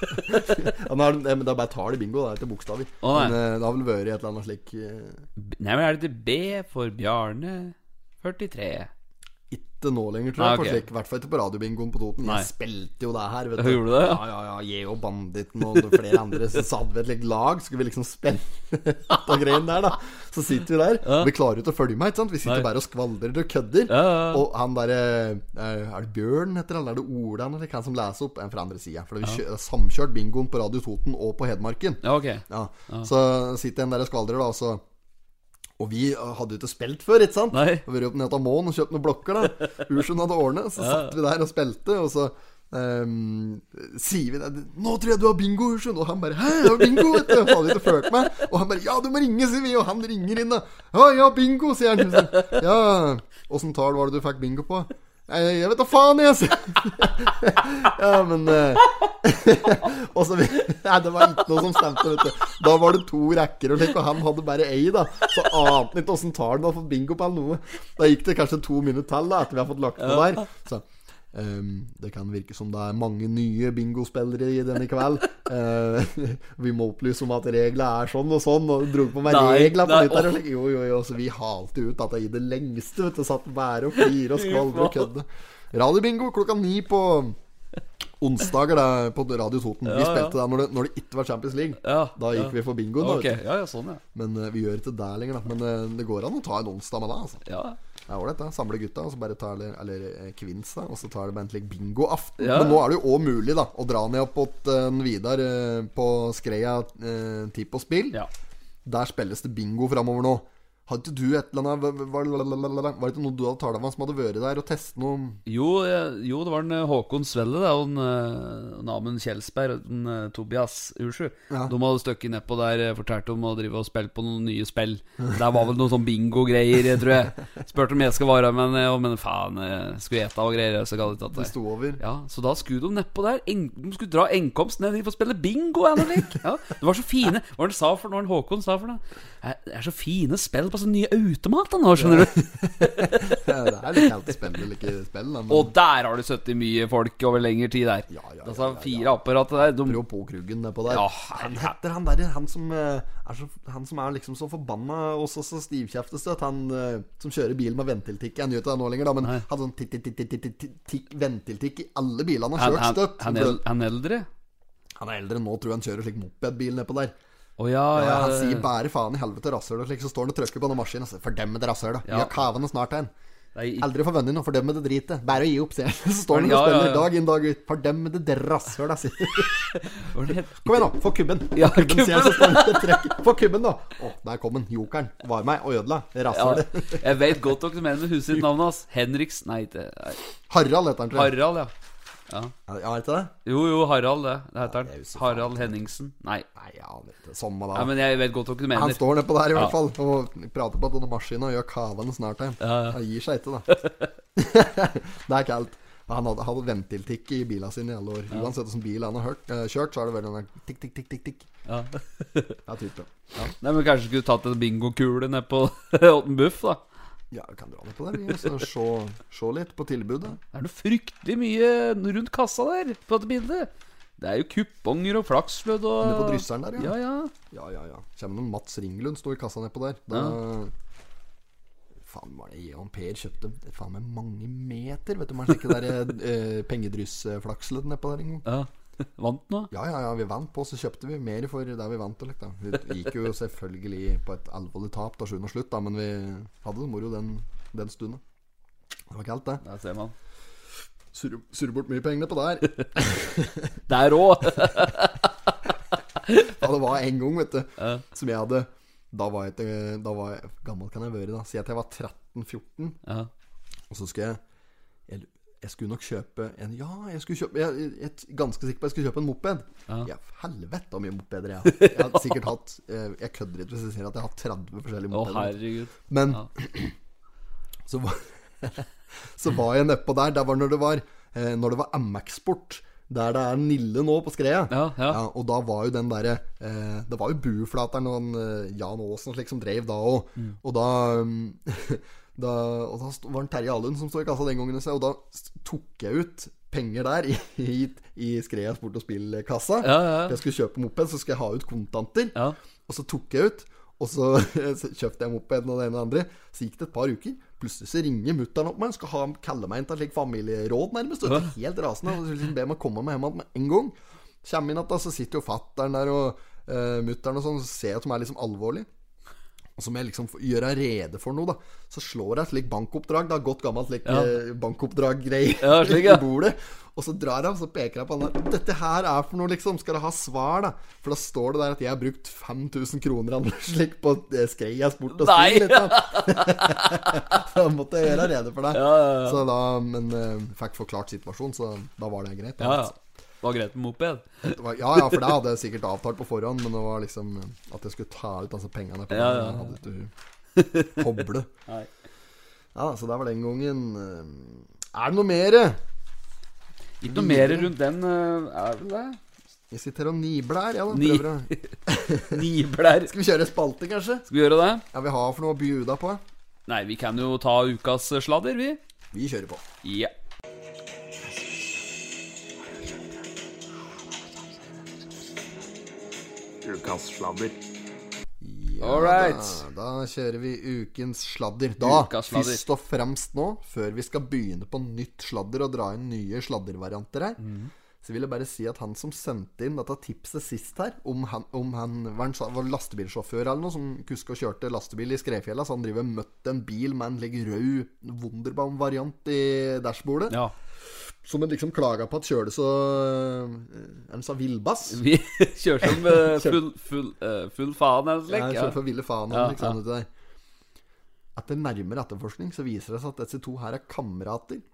Speaker 1: Ja, men er det, eh, men det er bare tall i bingo, det er ikke bokstaver.
Speaker 2: Å, nei.
Speaker 1: men eh, det har vel vært et eller annet slik eh,
Speaker 2: Nei, men er det til B for Bjarne 43?
Speaker 1: Ikke nå lenger, tror jeg.
Speaker 2: Nei,
Speaker 1: på
Speaker 2: Ah, ok.
Speaker 1: slik, I hvert fall ikke på radiobingoen på Toten.
Speaker 2: Nei.
Speaker 1: Jeg spilte jo det her, vet
Speaker 2: Ja,
Speaker 1: du.
Speaker 2: gjorde du det?
Speaker 1: Ja, ja, ja. Jeg og Banditten og flere andre så satt vi et slikt lag. Skulle vi liksom spille på greien der, da. Så sitter vi der. Vi klarer jo ikke å følge med, ikke sant. Vi sitter
Speaker 2: Nei.
Speaker 1: bare og skvaldrer og kødder.
Speaker 2: Ja, ja.
Speaker 1: Og han derre eh, Er det Bjørn heter han, eller er det Ola, eller han som leser opp? En fra andre sida. For vi kjø- samkjørt bingoen på Radio Toten og på Hedmarken.
Speaker 2: Ja, ok.
Speaker 1: Ja. Så sitter en der og skvaldrer, da, og så Og vi eh, hadde jo ikke spilt før, ikke sant?
Speaker 2: Nei.
Speaker 1: Og vært opp nede av månen og kjøpt noen blokker, da. Ursen hadde ordnet, så satt vi der og spilte, og så ehm, sier vi det 'Nå tror jeg du har bingo, Ursen.' Og han bare 'Hæ, jeg har bingo?' Vet du. Han hadde ikke ført meg. Og han bare 'Ja, du må ringe', sier vi. Og han ringer inn, da. 'Ja, ja, bingo', sier han. Så, Ja, åssen tall var det du fikk bingo på? «Nei, Jeg vet da faen, jeg, sier Ja, men eh, og så, nei, det var ikke noe som stemte, vet du. Da var det to rekker og slik, og han hadde bare ei, da. Så ante han ikke åssen talen var for bingo på eller noe. Da gikk det kanskje to minutter til, da, etter vi har fått lagt noe der. Så ehm, det kan virke som det er mange nye bingospillere i denne kveld. Eh, vi må opplyse om at reglene er sånn og sånn, og dro på meg
Speaker 2: Nei,
Speaker 1: reglene på
Speaker 2: nei,
Speaker 1: nytt. der, og slik. Jo, jo, jo. Så vi halte ut at det i det lengste, vet du. Satt bare og flirte og skvalvde og kødde. Radiobingo klokka ni på onsdager da, på Radio Toten.
Speaker 2: Ja,
Speaker 1: vi
Speaker 2: ja.
Speaker 1: spilte der når det, når det ikke var Champions League.
Speaker 2: Ja,
Speaker 1: Da gikk
Speaker 2: ja.
Speaker 1: vi for bingoen. da,
Speaker 2: Ok,
Speaker 1: vet du.
Speaker 2: ja, ja, sånn, ja.
Speaker 1: Men eh, vi gjør ikke det lenger, da. Men eh, det går an å ta en onsdag med det. altså
Speaker 2: ja.
Speaker 1: Det er ålreit, da. Samle gutta, og så bare tar det, eller eh, kvinns, da. Og så tar det bare en slik bingoaften.
Speaker 2: Ja.
Speaker 1: Men nå er det jo òg mulig da å dra ned opp mot eh, Vidar eh, på Skreia eh, Tipp og Spill.
Speaker 2: Ja.
Speaker 1: Der spilles det bingo framover nå. Hadde ikke du et eller annet hva- hva- la- la- la- la- la- Var det ikke noe du hadde talt om han som hadde vært der og testet noe
Speaker 2: Jo, eh, jo, det var den eh, Håkon Svelle da, og den, eh, den Amund Kjelsberg og den eh, Tobias Ursju.
Speaker 1: Ja.
Speaker 2: De hadde støkket nedpå der eh, fortalte om å drive og spille på noen nye spill. Der var vel noen sånn bingo-greier, eh, tror jeg. Spurte om jeg skal være med, men, eh, og, men faen, eh, skulle jeg ete og greier. Så gadd jeg ikke
Speaker 1: det
Speaker 2: at det.
Speaker 1: sto over?
Speaker 2: Ja, så da skulle de nedpå der. Eng, de skulle dra enkomst ned dit for å spille bingo. Eller noe slik. ja, det var så fine Hva var det han sa for noe? Håkon sa for noe? Eh, Det er så fine spill på sånne nye automater nå, skjønner du.
Speaker 1: Ja, det er litt kaldt spill eller ikke spill, da, men
Speaker 2: Og der har du sittet mye folk over lengre tid der.
Speaker 1: Ja, ja, ja, ja,
Speaker 2: altså,
Speaker 1: ja.
Speaker 2: fire apparat der. De,
Speaker 1: Prøv på Kruggen nedpå der.
Speaker 2: Ja,
Speaker 1: han heter han derre han, som, eh, er så- han som er liksom så forbanna og så, så stivkjeftes at han eh, som kjører bil med ventiltikk Han gjør ikke det nå lenger, da, men han hadde sånn tikk, tikk, tikk, tikk, tikk, tikk, tikk, ventiltikk i alle bilene han
Speaker 2: han,
Speaker 1: har kjørt
Speaker 2: han,
Speaker 1: støtt.
Speaker 2: han,
Speaker 1: Så
Speaker 2: el- han eldre?
Speaker 1: Han er eldre enn nå, tror jeg han kjører slik mopedbil nedpå der.
Speaker 2: Å ja,
Speaker 1: Ja,
Speaker 2: ja.
Speaker 1: han sier bare faen i helvete rasshøl, og slik så står han og trykker på den maskinen og sier 'fordømmede rasshøl', da.
Speaker 2: Ja.
Speaker 1: Vi har kavene snart igjen.
Speaker 2: Nei, ikke-
Speaker 1: Aldri forvente noe fordømmede dritet. Bare å gi opp, sier han. Så står han og
Speaker 2: Ja, ja,
Speaker 1: spiller
Speaker 2: ja.
Speaker 1: dag inn dag ut. Fordømmede rasshøl, da, sier han.
Speaker 2: hva var det het?
Speaker 1: Kom igjen, nå. Få kubben.
Speaker 2: Ja,
Speaker 1: Få kubben, sier jeg, så står
Speaker 2: kubben.
Speaker 1: han og trekker. Få kubben, da. Å, der kom den. Jokeren. Var meg og ødela. Rasshølet.
Speaker 2: ja, jeg vet godt hva du mener med huset sitt navn hans. Henriks Nei, det er
Speaker 1: Harald heter han, tror jeg.
Speaker 2: Harald, ja.
Speaker 1: Ja, er det ikke det?
Speaker 2: Jo, jo, Harald, det, det heter
Speaker 1: Ja, jeg
Speaker 2: han.
Speaker 1: husker faen
Speaker 2: Harald Henningsen. Nei.
Speaker 1: Nei, ja, det er ikke det. Samme
Speaker 2: Nei,
Speaker 1: da.
Speaker 2: men jeg vet godt hva du
Speaker 1: Han
Speaker 2: mener.
Speaker 1: står nedpå der i
Speaker 2: Ja.
Speaker 1: hvert fall og prater på denne maskinen og gjør kavene snart igjen.
Speaker 2: Ja, ja.
Speaker 1: Han gir seg ikke, da. det er kaldt. Han hadde, hadde ventiltikk i bilen sin i alle år. Uansett hvilken bil han har hørt, eh, kjørt, så er det vel den der tikk, tikk, tikk, tikk. tikk.
Speaker 2: Ja.
Speaker 1: Ja, type.
Speaker 2: Nei, men Kanskje skulle tatt en bingokule ned på Åtten Buff, da.
Speaker 1: Ja, vi kan dra ned på der, vi. og så Se, se litt på tilbudet.
Speaker 2: Det er noe fryktelig mye rundt kassa der, på dette bildet. Det er jo kuponger og flakslodd og
Speaker 1: Nede på drysseren der, ja.
Speaker 2: Ja, ja.
Speaker 1: Ja, ja, ja. Kommer noen Mats Ringlund sto i kassa nedpå der. Da Faen, var det jeg og Per kjøpte faen meg mange meter, vet du. Man sjekker der eh, pengedryssflaksledd nedpå der en gang.
Speaker 2: ja. Vant nå?
Speaker 1: Ja, ja, ja, vi vant på, så kjøpte vi mer for der vi vant. og litt, Da. Vi gikk jo selvfølgelig på et alvorlig tap til sjuende og slutt, da, men vi hadde det moro den, den stunden. Det var kaldt, det.
Speaker 2: Der ser man.
Speaker 1: Surre surre bort mye penger nedpå der.
Speaker 2: Der òg!
Speaker 1: Ja, det var en gang, vet du,
Speaker 2: Ja.
Speaker 1: som jeg hadde Da var jeg, til- da var jeg gammel kan jeg være, da. Si at jeg var 13-14.
Speaker 2: Ja.
Speaker 1: Og så skulle jeg Jeg, jeg skulle nok kjøpe en Ja, jeg skulle kjøpe Jeg, jeg, jeg er ganske sikker på at jeg skulle kjøpe en moped. Ja, Helvete hvor mye mopeder jeg har. Jeg har sikkert hatt Jeg, jeg kødder ikke hvis jeg sier at jeg har hatt 30 forskjellige
Speaker 2: Å,
Speaker 1: mopeder.
Speaker 2: herregud.
Speaker 1: Men
Speaker 2: Ja.
Speaker 1: så, var, så var jeg nedpå der. Der var når det var eh, Når det var MX-sport. Der det er Nille nå, på skreia.
Speaker 2: Ja, ja.
Speaker 1: Ja, og da var jo den derre eh, Det var jo Buflateren og en, eh, Jan Aasen og slik som drev da òg.
Speaker 2: Mm.
Speaker 1: Og da um, Da, og da sto- var det Terje Alund som sto i kassa den gangen, og så- og da s- tok jeg ut penger der i, i, i Skrea sport og spill-kassa.
Speaker 2: Ja, ja, ja.
Speaker 1: Jeg skulle kjøpe moped, så skulle jeg ha ut kontanter.
Speaker 2: Ja.
Speaker 1: Og så tok jeg ut, og så, så kjøpte jeg mopeden og det ene og det andre. Så gikk det et par uker. Plutselig så ringer mutter'n opp meg og skal ha, kalle meg inn til et slikt familieråd, nærmest. Og jeg er helt rasende. Og så liksom ber meg komme meg hjem igjen med en gang. Kjem inn at da, så sitter jo fatter'n der og uh, mutter'n og sånn, så ser jeg at de er liksom alvorlige. Og så må jeg liksom få- gjøre rede for noe, da. Så slår jeg et slikt bankoppdrag, da. Godt gammelt slik
Speaker 2: Ja.
Speaker 1: eh, bankoppdrag-greie
Speaker 2: Ja, slik, ja.
Speaker 1: i bordet. Og så drar han, så peker han på han der. Dette her er for noe, liksom. Skal du ha svar, da? For da står det der at jeg har brukt 5000 kroner eller slik på eh, Skreias bort og
Speaker 2: Nei.
Speaker 1: spill. Liksom. så da måtte jeg gjøre rede for deg.
Speaker 2: Ja, ja, ja.
Speaker 1: Så da, men eh, fikk forklart situasjonen, så da var det greit. da.
Speaker 2: ja, ja. Det var greit med moped.
Speaker 1: Det var, ja, ja, for det hadde jeg sikkert avtalt på forhånd, men det var liksom eh, at jeg skulle ta ut altså, pengene. På
Speaker 2: Ja,
Speaker 1: den,
Speaker 2: ja, ja.
Speaker 1: Jeg hadde ikke koble.
Speaker 2: Nei.
Speaker 1: Ja, så der var den gangen. eh, Er det noe mere?
Speaker 2: Ikke noe mer rundt den, eh, er vel det?
Speaker 1: Jeg sitter her og nibler her. Ja, da,
Speaker 2: Ni-
Speaker 1: prøver å...
Speaker 2: Nibler.
Speaker 1: Skal vi kjøre spalte, kanskje?
Speaker 2: Skal vi gjøre det?
Speaker 1: Ja, vi har for noe å bjuda på.
Speaker 2: Nei, vi kan jo ta ukas eh, sladder, vi.
Speaker 1: Vi kjører på.
Speaker 2: Ja.
Speaker 6: Ukas sladder.
Speaker 1: Ja,
Speaker 2: All right.
Speaker 1: da, da kjører vi ukens sladder. Da,
Speaker 2: Ukas sladder.
Speaker 1: først og fremst nå, før vi skal begynne på nytt sladder og dra inn nye sladdervarianter her,
Speaker 2: Mhm.
Speaker 1: så vil jeg bare si at han som sendte inn dette tipset sist her, om han, om han var, en, sa- var lastebilsjåfør eller noe, som kuska og kjørte lastebil i Skrefjella, så han driver og møtte en bil med en like rød Wunderbaum-variant i dashbordet,
Speaker 2: ja.
Speaker 1: som han liksom klaga på at kjørte så øh, Han sa villbass.
Speaker 2: Vi kjører som eh, full, full, eh, full faen
Speaker 1: Ja,
Speaker 2: eller noe slikt.
Speaker 1: jeg
Speaker 2: Ja.
Speaker 1: kjører for ville faen.
Speaker 2: Ja,
Speaker 1: liksom, vet du det. Etter nærmere etterforskning så viser det seg at disse to her er kamerater.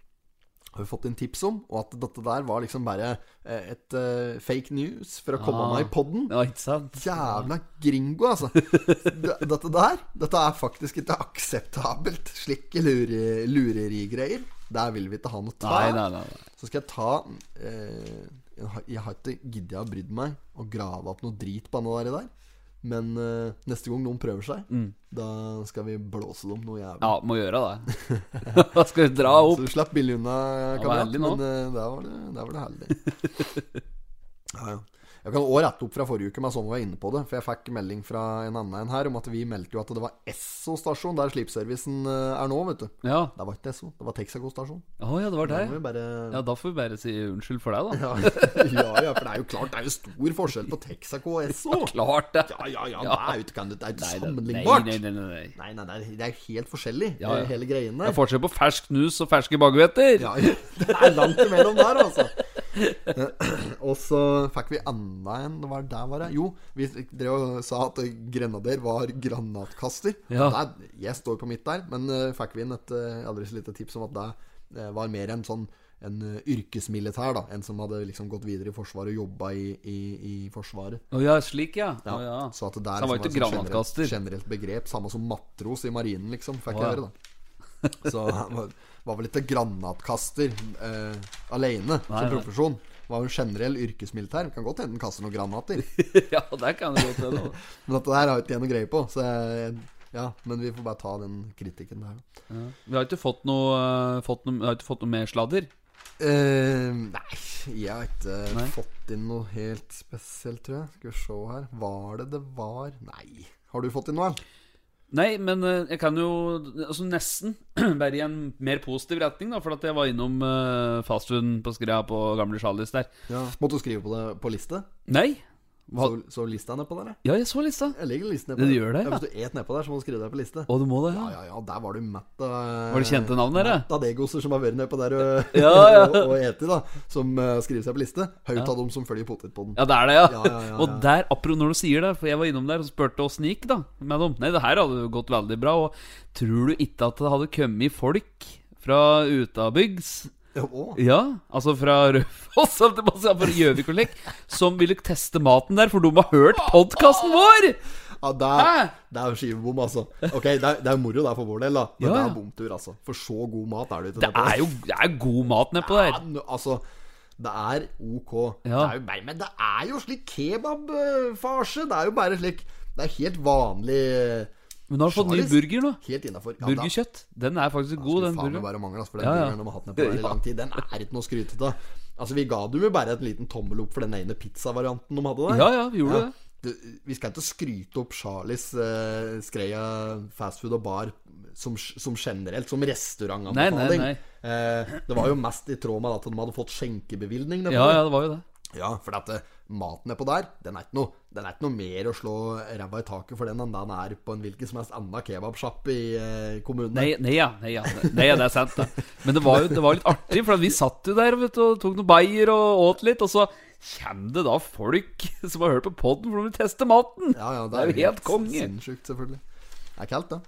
Speaker 1: Har vi fått inn tips om, og at dette der var liksom bare eh, et eh, fake news for å komme
Speaker 2: Ah.
Speaker 1: meg i podden.
Speaker 2: Ja, ikke sant?
Speaker 1: Jævla gringo, altså. D- Dette der Dette er faktisk ikke akseptabelt. Slike lure, lurerigreier. Der vil vi ikke ha noe
Speaker 2: Nei,
Speaker 1: ta.
Speaker 2: nei, nei. nei.
Speaker 1: Så skal jeg ta eh, Jeg har- jeg har ikke giddet å brydd meg å grave opp noe drit på noe der. Men eh, neste gang noen prøver seg, da skal vi blåse dem noe jævlig.
Speaker 2: Mm. Ja, må gjøre det. Hva skal vi dra
Speaker 1: Så
Speaker 2: opp?
Speaker 1: du slapp billig unna,
Speaker 2: Det var
Speaker 1: kamerat.
Speaker 2: herlig nå.
Speaker 1: Men eh, der var det, der var det herlig. ja, ja. Jeg kan også rette opp fra forrige uke, men sånn var jeg inne på det. For jeg fikk melding fra en annen enn her om at vi meldte jo at det var Esso stasjon der slipservicen eh, er nå, vet du.
Speaker 2: Ja.
Speaker 1: Det var ikke Esso, det var Texaco stasjon.
Speaker 2: Å ja, det var
Speaker 1: Da
Speaker 2: der.
Speaker 1: må vi bare
Speaker 2: Ja, da får vi bare si unnskyld for deg, da.
Speaker 1: ja, ja, ja, for det er jo klart det er jo stor forskjell på Texaco og Esso.
Speaker 2: Klart det.
Speaker 1: Ja, ja, ja, det er jo ikke- det er jo ikke
Speaker 2: Nei, det-
Speaker 1: sammenlignbart.
Speaker 2: Nei, nei, nei, nei. nei.
Speaker 1: Nei, nei, det er- det er jo helt forskjellig,
Speaker 2: Ja, ja.
Speaker 1: hele greien
Speaker 2: Det
Speaker 1: der.
Speaker 2: er forskjell på fersk snus og ferske baguetter.
Speaker 1: Ja, det er langt imellom der, altså. Eh, Og så fikk vi enda en Hva er det der var det? Jo, vi drev og sa at grenader var granatkaster.
Speaker 2: Ja.
Speaker 1: Der, jeg står på mitt der, men eh, fikk vi inn et eh, aldri så lite tips om at det eh, var mer en sånn en eh, yrkesmilitær, da. En som hadde liksom gått videre i Forsvaret og jobba i, i, i Forsvaret.
Speaker 2: Å ja, slik, ja. Å, ja.
Speaker 1: Så at det der
Speaker 2: Så han var
Speaker 1: liksom
Speaker 2: ikke
Speaker 1: et sånt
Speaker 2: granatkaster.
Speaker 1: Generelt, generelt begrep. Samme som matros i marinen, liksom, fikk
Speaker 2: Å, ja.
Speaker 1: jeg høre, da. Så han var, var vel ikke granatkaster eh, alene
Speaker 2: Nei,
Speaker 1: som
Speaker 2: nei.
Speaker 1: profesjon. Var jo en generell yrkesmilitær. Kan godt hende han kaster noen granater.
Speaker 2: ja, der kan det godt hende.
Speaker 1: Men dette der har ikke jeg noe greie på. Så jeg, ja, men vi får bare ta den kritikken der, da.
Speaker 2: Ja. Vi har ikke fått noe, eh, fått noe, vi har ikke fått noe mer sladder.
Speaker 1: Eh, nei, jeg har ikke
Speaker 2: Nei.
Speaker 1: fått inn noe helt spesielt, tror jeg. Skal vi se her. Var det det var Nei. Har du fått inn noe?
Speaker 2: Nei, men eh, jeg kan jo altså nesten være i en mer positiv retning, da. For at jeg var innom eh, fastfood på Skrea på Gamle Charlies der.
Speaker 1: Ja. Måtte du skrive på det på liste?
Speaker 2: Nei. Hva?
Speaker 1: Så, så lista nedpå der, ja?
Speaker 2: Ja, jeg så lista.
Speaker 1: Jeg legger listen
Speaker 2: Ja,
Speaker 1: nedpå.
Speaker 2: du gjør det, ja.
Speaker 1: Hvis du et nedpå der, så må du skrive deg på liste.
Speaker 2: Å, du må det, ja.
Speaker 1: Ja, ja, ja, der var du mett av
Speaker 2: Var det kjente navn, dere?
Speaker 1: Mett av degoser som har vært nedpå der og,
Speaker 2: Ja, ja.
Speaker 1: og, og eti, da. Som eh, skriver seg på liste. Høyt av dem som følger potetpodden.
Speaker 2: Ja, det er det, ja.
Speaker 1: Ja, ja, ja, ja.
Speaker 2: Og der, apropos når du sier det, for jeg var innom der og spurte åssen gikk da med dem. Nei, det her hadde jo gått veldig bra, og tror du ikke at det hadde kommet folk fra utabygds?
Speaker 1: Ja. å.
Speaker 2: Ja, altså fra Rødfoss, holdt jeg på å si, fra Gjøvik og Lekk, som ville teste maten der, for de har hørt podkasten vår!
Speaker 1: Ja, det er,
Speaker 2: Hæ?
Speaker 1: det er jo skivebom, altså. Ok, det er, det er moro der for vår del, da. Men
Speaker 2: Ja,
Speaker 1: det
Speaker 2: ja.
Speaker 1: er bomtur, altså. For så god mat er det ikke
Speaker 2: Det
Speaker 1: nedpå der.
Speaker 2: er jo det er god mat nedpå
Speaker 1: Ja,
Speaker 2: der.
Speaker 1: n- altså det er ok. Det
Speaker 2: Ja.
Speaker 1: er jo bare, men det er jo slik kebabfarse. Det er jo bare slik Det er helt vanlig
Speaker 2: Men nå har du fått ny
Speaker 1: Charlies?
Speaker 2: burger nå.
Speaker 1: Helt innafor.
Speaker 2: Burgerkjøtt. Den er faktisk god,
Speaker 1: Skulle faen
Speaker 2: den
Speaker 1: meg
Speaker 2: burgeren.
Speaker 1: bare mangle, altså, for den
Speaker 2: Ja, ja.
Speaker 1: burgeren de har hatt den på der i
Speaker 2: Ja.
Speaker 1: lang tid, den er ikke noe å skryte av. Altså, vi ga dem jo bare en liten tommel opp for den ene pizzavarianten de hadde der.
Speaker 2: Ja, ja, vi gjorde det.
Speaker 1: Du, Vi skal ikke skryte opp Charlies eh, Skreia fastfood og bar som, som generelt, som
Speaker 2: Nei,
Speaker 1: restaurantanbefaling.
Speaker 2: nei,
Speaker 1: Eh, det var jo mest i tråd med at de hadde fått skjenkebevilgning. nedpå
Speaker 2: Ja,
Speaker 1: der.
Speaker 2: ja, det var jo det.
Speaker 1: Ja, for at eh, maten nedpå der, den er ikke noe, den er ikke noe mer å slå ræva i taket for den enn den er på en hvilken som helst annen kebabsjapp i eh, kommunen.
Speaker 2: Nei, nei, ja, nei, ja. nei, ja, det er sant. Da. Men det var jo det var litt artig, for vi satt jo der vet du, og tok noen bayer og åt litt. Og så kommer det da folk som har hørt på poden, for de vil teste maten!
Speaker 1: Ja, ja, det,
Speaker 2: Det er jo helt konge.
Speaker 1: Sinnssykt, selvfølgelig. Det er kaldt, da.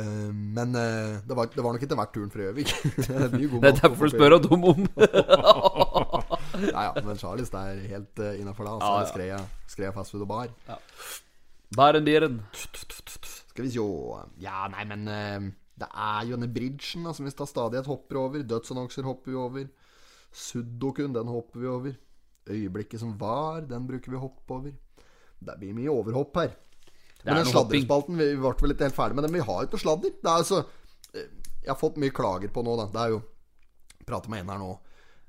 Speaker 1: Eh, men eh, det, var, det var nok ikke verdt turen fra Gjøvik. det er mye god
Speaker 2: Det er
Speaker 1: mat på
Speaker 2: derfor du spør
Speaker 1: Gjøvik.
Speaker 2: dem om.
Speaker 1: Ja, ja, men Charlies, det er helt uh, innafor da. Altså,
Speaker 2: Ja, ja.
Speaker 1: Skreia, Skreia fast food og bar.
Speaker 2: Bæren bieren.
Speaker 1: Skal vi sjå Ja, nei, men eh, det er jo denne bridgen da, som vi tar stadighet hopper over. Dødsannonser hopper vi over. Suddokun, den hopper vi over. Øyeblikket som var, den bruker vi å hoppe over. Det blir mye overhopp her.
Speaker 2: er
Speaker 1: Men den
Speaker 2: noe hopping.
Speaker 1: sladrespalten, vi ble vel ikke helt ferdig med den. men Vi har jo ikke sladder. Det er altså eh, Jeg har fått mye klager på nå, da. Det er jo Prater med en her nå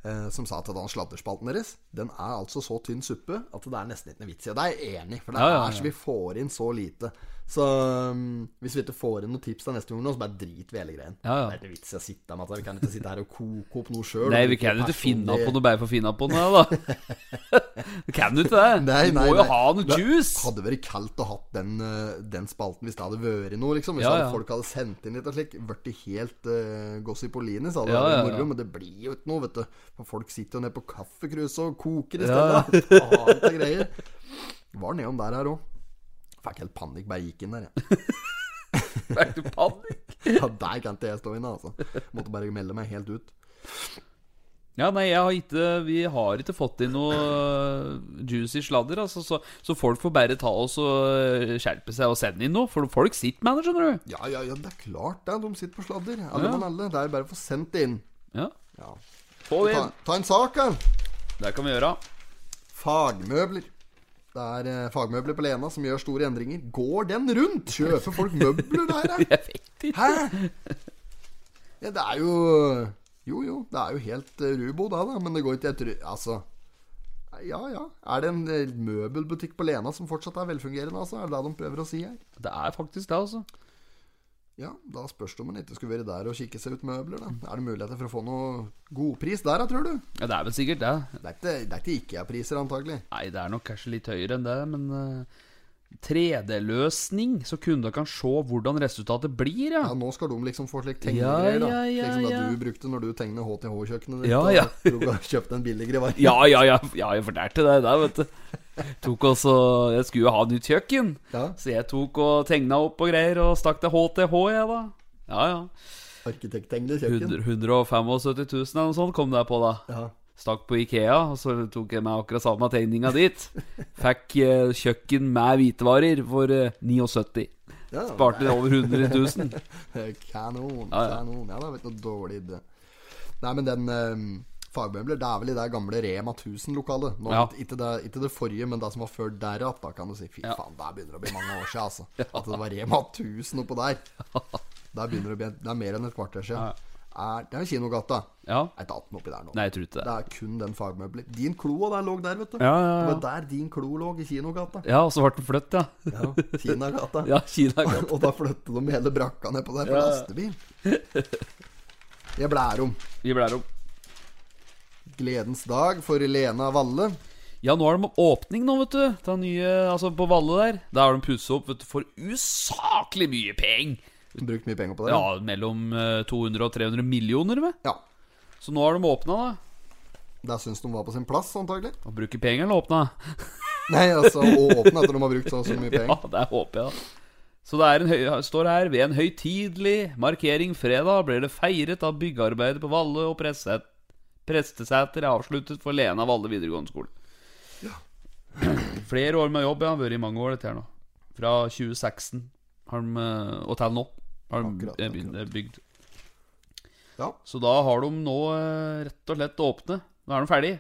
Speaker 1: eh, som sa at den sladderspalten deres Den er altså så tynn suppe at det er nesten ikke noe vits i. Og det er jeg enig i, for det
Speaker 2: Ja, ja, ja.
Speaker 1: er så vi får inn så lite. Så um, hvis vi ikke får inn noen tips til neste gang, nå, så bare drit vi hele greien.
Speaker 2: Ja, ja.
Speaker 1: Det er ikke noe vits i å sitte med dette. Vi kan ikke sitte her og koke opp noe sjøl.
Speaker 2: Nei, vi kan jo ikke finne på noe bare for å finne på noe, da. Vi kan jo ikke det.
Speaker 1: Nei,
Speaker 2: Vi
Speaker 1: nei,
Speaker 2: må jo
Speaker 1: nei.
Speaker 2: ha noe
Speaker 1: Det
Speaker 2: juice.
Speaker 1: Hadde vært kaldt å hatt den, eh, den spalten hvis det hadde vært noe, liksom. Hvis
Speaker 2: Ja,
Speaker 1: hadde
Speaker 2: ja.
Speaker 1: folk hadde sendt inn litt og slik. Vært det helt uh, gossipolini, så hadde
Speaker 2: Ja,
Speaker 1: det
Speaker 2: ja,
Speaker 1: vært
Speaker 2: ja.
Speaker 1: moro. Men det blir jo ikke noe, vet du. For folk sitter jo nede på kaffekrus og koker i
Speaker 2: Ja,
Speaker 1: stedet. Ja. Annet og greier. Var nedom der her òg. Fikk helt panikk bare jeg gikk inn der, jeg.
Speaker 2: Back to panic.
Speaker 1: Ja, der kan ikke jeg stå inne, altså. Måtte bare melde meg helt ut.
Speaker 2: Ja, nei, jeg har ikke Vi har ikke fått inn noe øh, juicy sladder, altså, så, så folk får bare ta oss og øh, skjerpe seg og sende inn noe. For folk sitter med det, skjønner du.
Speaker 1: Ja, ja, ja, det er klart det. De sitter på sladder. Alle mann alle. Det er bare å få sendt det inn.
Speaker 2: Ja,
Speaker 1: Ja.
Speaker 2: Få det
Speaker 1: Ta,
Speaker 2: inn.
Speaker 1: ta en sak, da.
Speaker 2: Det kan vi gjøre.
Speaker 1: Fagmøbler. Det er eh, fagmøbler på Lena som gjør store endringer. Går den rundt? Kjøper folk møbler der, da?
Speaker 2: Jeg vet ikke.
Speaker 1: Hæ? Ja, det er jo Jo, jo, det er jo helt eh, rubo da, da, men det går ikke etter Altså. Ja, ja. Er det en eh, møbelbutikk på Lena som fortsatt er velfungerende, altså? Er det det de prøver å si her?
Speaker 2: Det er faktisk det, altså.
Speaker 1: Ja, da spørs det om en ikke skulle vært der og kikke seg ut møbler, da. Er det muligheter for å få noe godpris der, da, tror du?
Speaker 2: Ja, det er vel sikkert det.
Speaker 1: Det er ikke, det er ikke IKEA-priser, antagelig.
Speaker 2: Nei, det er nok kanskje litt høyere enn det, men øh, 3D-løsning, så kunder kan se hvordan resultatet blir, ja.
Speaker 1: Ja, nå skal de liksom få slik
Speaker 2: Ja,
Speaker 1: tegnegreier, da.
Speaker 2: ja, ja,
Speaker 1: Slik som
Speaker 2: ja.
Speaker 1: det du brukte når du tegner HTH-kjøkkenet ditt
Speaker 2: Ja, ja.
Speaker 1: og kjøpte en billigere vare.
Speaker 2: Ja, ja, ja, ja jeg fortalte deg det, vet du. Tok også, jeg skulle jo ha nytt kjøkken,
Speaker 1: Ja.
Speaker 2: så jeg tok og tegna opp og greier, og stakk til HTH, jeg, da. Ja, ja.
Speaker 1: Arkitekttegnede
Speaker 2: 100,
Speaker 1: kjøkken.
Speaker 2: 175 000 eller noe sånt kom det på, da.
Speaker 1: Ja.
Speaker 2: Stakk på Ikea, og så tok jeg med akkurat samme tegninga dit. Fikk eh, kjøkken med hvitevarer for eh, 79.
Speaker 1: Ja,
Speaker 2: Sparte over 100 000.
Speaker 1: Kanon,
Speaker 2: Ja, ja.
Speaker 1: kanon. Ja, det er vel ikke noe dårlig idé. Nei, men den eh, fagmøbler, det er vel i det gamle Rema 1000-lokalet. Nå,
Speaker 2: Ja.
Speaker 1: ikke, det, ikke det forrige, men det som var før derav, da kan du si. Fy faen, der begynner det å bli mange år siden, altså. At det var Rema 1000 oppå der. Der begynner det å bli Det er mer enn et kvarter siden. Er, det er Kinogata.
Speaker 2: Ja.
Speaker 1: Er ikke 18 oppi der nå.
Speaker 2: Nei, jeg tror ikke
Speaker 1: Det
Speaker 2: det.
Speaker 1: er kun den fagmøbler. Din klo og der lå der, vet du.
Speaker 2: Ja, ja, ja.
Speaker 1: Det var der din klo lå, i Kinogata.
Speaker 2: Ja, og så ble den flytt, ja.
Speaker 1: Ja, Kinagata.
Speaker 2: Ja, Kina.
Speaker 1: og da flyttet de hele brakka ned på der på
Speaker 2: Ja.
Speaker 1: lastebil. Jeg blærer om.
Speaker 2: Vi blærer om.
Speaker 1: Gledens dag for Lena Valle.
Speaker 2: Ja, nå har de åpning nå, vet du. Den nye, altså På Valle der. Der har de pussa opp vet du, for usaklig mye penger.
Speaker 1: Brukt mye penger på det.
Speaker 2: Ja, mellom eh, 200 og 300 millioner, vel.
Speaker 1: ja.
Speaker 2: Så nå har de åpna, da.
Speaker 1: Der syns de var på sin plass, antagelig.
Speaker 2: Å bruke penger eller åpna?
Speaker 1: Nei, altså, å åpne etter de har brukt så og så mye
Speaker 2: Ja,
Speaker 1: penger.
Speaker 2: det håper jeg, da. Så det er en høy, står her ved en høytidelig markering fredag blir det feiret av byggearbeidet på Valle og Presset. Prestesæter er avsluttet for Lena Valle videregående skole. Flere år med jobb, ja. Vært i mange år, dette her nå. Fra 2016 har de, eh, og til nå har de
Speaker 1: Akkurat,
Speaker 2: eh, begynt, eh, bygd.
Speaker 1: Ja.
Speaker 2: Så da har de nå eh, rett og slett åpne. Nå er de ferdig.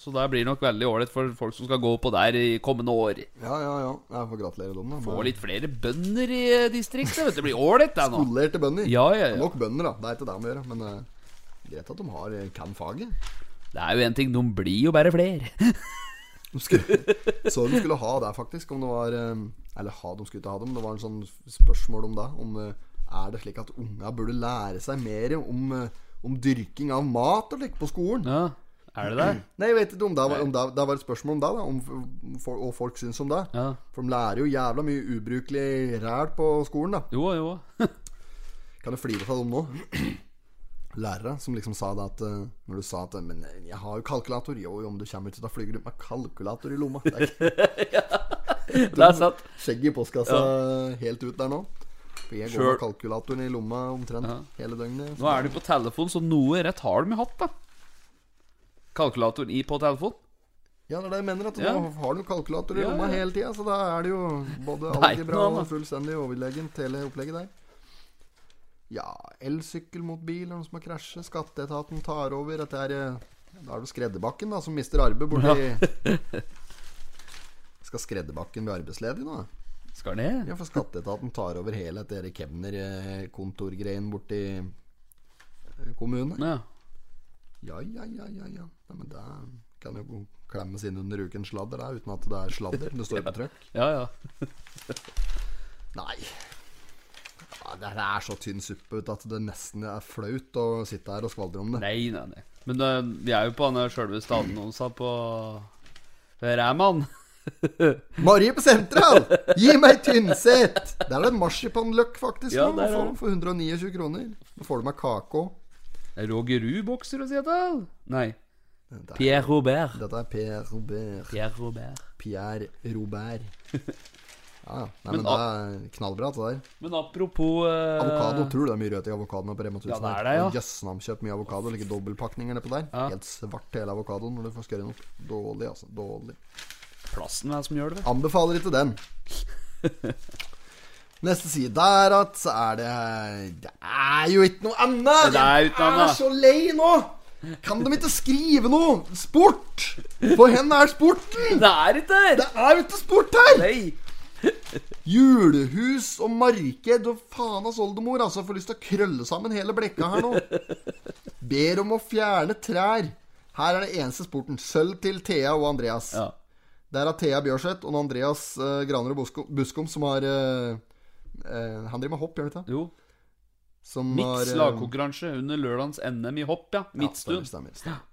Speaker 2: Så det blir nok veldig ålreit for folk som skal gå på der i kommende år.
Speaker 1: ja, ja, ja. Jeg får gratulere dem, da.
Speaker 2: Få litt flere bønder i eh, distriktet, vet du. Det blir ålreit, det nå.
Speaker 1: Skolerte bønder.
Speaker 2: Ja, ja, ja.
Speaker 1: Nok bønder, da. Det er ikke det de gjør, men eh, greit at de har, eh, kan faget.
Speaker 2: Det er jo en ting, de blir jo bare flere.
Speaker 1: De skulle, så de skulle ha det, faktisk. Om det var eh, Eller ha, de skulle ikke ha det, men det var en sånn spørsmål om det. Om eh, er det slik at unga burde lære seg mer om, eh, om dyrking av mat og slik på skolen?
Speaker 2: Ja, er det det?
Speaker 1: Nei, jeg vet ikke om det var, om det, det var et spørsmål om det, da. Om, for, og folk syns om det.
Speaker 2: Ja.
Speaker 1: For de lærer jo jævla mye ubrukelig ræl på skolen, da.
Speaker 2: Jo, jo.
Speaker 1: Kan jeg flire av dem nå? Lærere som liksom sa det at eh, Når du sa at eh, Men jeg har jo kalkulator. Jo, jo, om du kommer ut, da flyger du med kalkulator i lomma. Det er ikke
Speaker 2: Det er sant.
Speaker 1: skjegget i postkassa helt ut der nå. For jeg går
Speaker 2: Sure.
Speaker 1: med kalkulatoren i lomma omtrent hele døgnet.
Speaker 2: Nå er du på telefon, så noe rett har de jo hatt, da. Kalkulatoren i på telefon.
Speaker 1: Ja, det er det jeg mener. At
Speaker 2: Ja.
Speaker 1: Nå har du kalkulator i
Speaker 2: Ja,
Speaker 1: lomma
Speaker 2: ja.
Speaker 1: hele tida, så da er det jo både
Speaker 2: Nei,
Speaker 1: algebra
Speaker 2: nå, da.
Speaker 1: og fullstendig overlegent hele opplegget der. Ja, elsykkel mot bil, er noen som har krasjet, skatteetaten tar over Dette er eh, Da er det Skredderbakken, da, som mister arbeid borti Skal Skredderbakken bli arbeidsledig nå?
Speaker 2: Skal ned.
Speaker 1: Ja, for skatteetaten tar over hele dette eh, kemnerkontorgreien borti eh, kommunen.
Speaker 2: Ja.
Speaker 1: Ja, ja, ja, ja, ja. Nei, men det kan jo klemmes inn under uken sladder, da, uten at det er sladder. Det står på trykk.
Speaker 2: ja, ja.
Speaker 1: Nei. Ja, det her er så tynn suppe ut at det nesten er flaut å sitte her og skvaldre om det.
Speaker 2: Nei, nei, nei. Men eh, vi er jo på denne sjølve stadenonsa på Ræman.
Speaker 1: Marie på sentral! Gi meg Tynset! Der er det en marsipanløk, faktisk.
Speaker 2: Ja,
Speaker 1: nå,
Speaker 2: der er
Speaker 1: for,
Speaker 2: det.
Speaker 1: for 129 kroner. Nå får du meg kake òg.
Speaker 2: Roger Ruud-bokser og Seattle. Nei.
Speaker 1: Det er-
Speaker 2: Pierre Robert.
Speaker 1: Dette er Per Robert.
Speaker 2: Pierre Robert.
Speaker 1: Pierre Robert. Ja, ja. Nei,
Speaker 2: Men
Speaker 1: men, det er knallbra, det der.
Speaker 2: Men apropos eh,
Speaker 1: Avokado. Tror du det er mye rødt i avokadoen på Rema 1000?
Speaker 2: Ja, det er
Speaker 1: her?
Speaker 2: det, ja.
Speaker 1: Og Jøssen har kjøpt mye avokado. Like dobbeltpakninger nedpå der.
Speaker 2: Ja.
Speaker 1: Helt svart hele avokadoen når du får skørre den opp. Dårlig, altså. Dårlig.
Speaker 2: Plassen er som gjør det. vet du.
Speaker 1: Anbefaler ikke den. Neste side der at så er det Det er jo ikke noe annet!
Speaker 2: Det er ikke noe
Speaker 1: Jeg
Speaker 2: annet.
Speaker 1: er så lei nå! Kan de ikke skrive noe? Sport! For hen er sporten?
Speaker 2: Det er ikke
Speaker 1: Det
Speaker 2: der!
Speaker 1: er jo ikke sport her!
Speaker 2: Nei!
Speaker 1: Julehus og marked og faen hans oldemor, altså. Jeg Får lyst til å krølle sammen hele blekka her nå. Ber om å fjerne trær. Her er det eneste sporten. Sølv til Thea og Andreas.
Speaker 2: Ja.
Speaker 1: Der er Thea Bjørseth og Andreas uh, Graner og Busko- Buskom som har eh, eh, Han driver med hopp, gjør han ikke det?
Speaker 2: Jo.
Speaker 1: Som har,
Speaker 2: Mitt
Speaker 1: eh,
Speaker 2: slagkonkurranse under lørdagens NM i hopp,
Speaker 1: ja,
Speaker 2: ja.
Speaker 1: stemmer,
Speaker 2: Midtstund.
Speaker 1: stemmer, stemmer.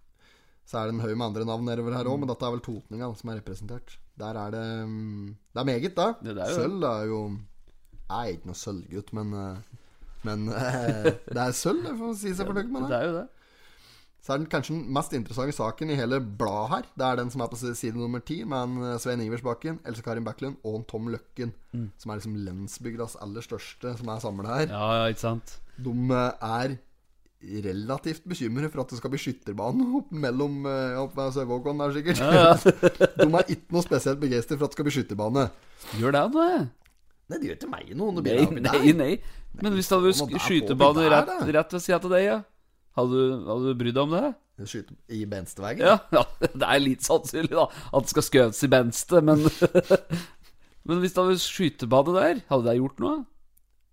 Speaker 1: Så er det en haug med andre navn nedover her òg, men dette er vel totninga da, som er representert. Der er det mm, Det er meget, da.
Speaker 2: Det er jo-
Speaker 1: sølv er jo Jeg er ikke noe sølvgutt, men eh, Men eh, det er sølv, det får man si seg fornøyd med.
Speaker 2: Det
Speaker 1: det
Speaker 2: er jo det.
Speaker 1: Så er den kanskje den mest interessante saken i hele bladet her. Det er den som er på side nummer ti, med en eh, Svein Iversbakken, Else Karin Backlund og en Tom Løkken. Som er liksom lensbygdas aller største som er samla her.
Speaker 2: Mm. Ja, ja, ikke sant.
Speaker 1: De eh, er relativt bekymret for at det skal bli skytterbane opp mellom eh, ja, opp med Søvågån der, sikkert. De er ikke noe spesielt begeistret for at det skal bli skytterbane.
Speaker 2: Gjør det, da.
Speaker 1: Nei, det gjør ikke meg noe. Det
Speaker 2: Nei,
Speaker 1: blir da oppi
Speaker 2: nei,
Speaker 1: der.
Speaker 2: nei. Men hvis det hadde
Speaker 1: faen,
Speaker 2: vært
Speaker 1: og der
Speaker 2: skytebane
Speaker 1: får vi
Speaker 2: rett,
Speaker 1: der, da.
Speaker 2: rett ved sida av deg, ja. hadde, du- hadde du brydd deg om det?
Speaker 1: Skyte i Benstevegen?
Speaker 2: Ja, ja, det er litt sannsynlig da at det skal skjøtes i benste, men Men hvis det hadde vært skytebane der, hadde jeg gjort noe?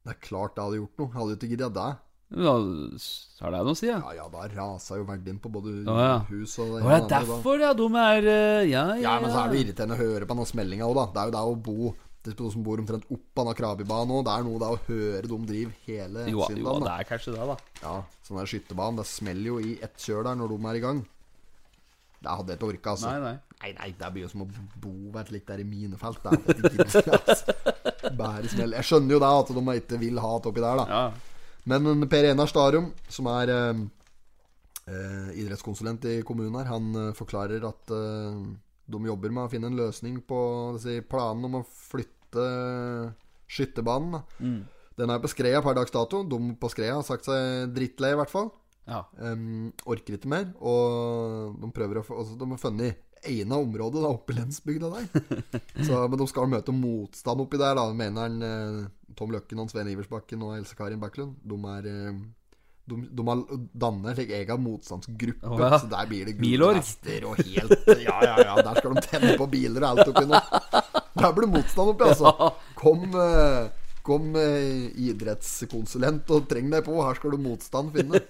Speaker 1: Det er klart det hadde gjort noe. Jeg Hadde jo ikke gidda det.
Speaker 2: Ja, s- har det noe å si, ja?
Speaker 1: Ja ja, da rasa jo verdien på både
Speaker 2: ja.
Speaker 1: hus og det
Speaker 2: Å, det
Speaker 1: og
Speaker 2: er
Speaker 1: det andre, da.
Speaker 2: derfor, ja. De er eh, Ja, ja.
Speaker 1: Ja, men så er det jo irriterende å høre på den smellinga òg, da. Det er jo det å bo Det er noen som bor omtrent opp av den krabbebanen òg. Det er noe det å høre dem drive hele
Speaker 2: jo, jo,
Speaker 1: søndagen.
Speaker 2: det
Speaker 1: da.
Speaker 2: er kanskje det, da.
Speaker 1: Ja, sånn der skytterbanen. Det smeller jo i ett kjør der når de er i gang. Det hadde jeg ikke orka, altså.
Speaker 2: Nei, nei.
Speaker 1: Nei, nei, det blir jo som å bo hvert litt der i minefelt. Det er at jeg ikke gidder, altså. Bare smell. Jeg skjønner jo det at de ikke vil ha det oppi der, da.
Speaker 2: Ja.
Speaker 1: Men en Per Enar Starum, som er eh, eh, idrettskonsulent i kommunen her, han eh, forklarer at eh, de jobber med å finne en løsning på si, planen om å flytte eh, skytterbanen. da. Den er på Skreia per dags dato. De på Skreia har sagt seg drittlei, i hvert fall.
Speaker 2: ja.
Speaker 1: Em, orker ikke mer. Og de prøver å få altså, De har funnet egna område da, oppe i lensbygda der. Så, men de skal møte motstand oppi der, da, mener han eh, Tom Løkken og Svein Iversbakken og Else Karin Backlund. De er eh, de, de har dannet en slik egen motstandsgruppe,
Speaker 2: Å, ja.
Speaker 1: så der blir det
Speaker 2: Bilorg.
Speaker 1: vester og helt Ja, ja, ja. Der skal de tenne på biler og alt oppi nå. Der blir det motstand oppi, altså. Kom, eh, kom eh, idrettskonsulent og treng deg på. Her skal du motstand finne.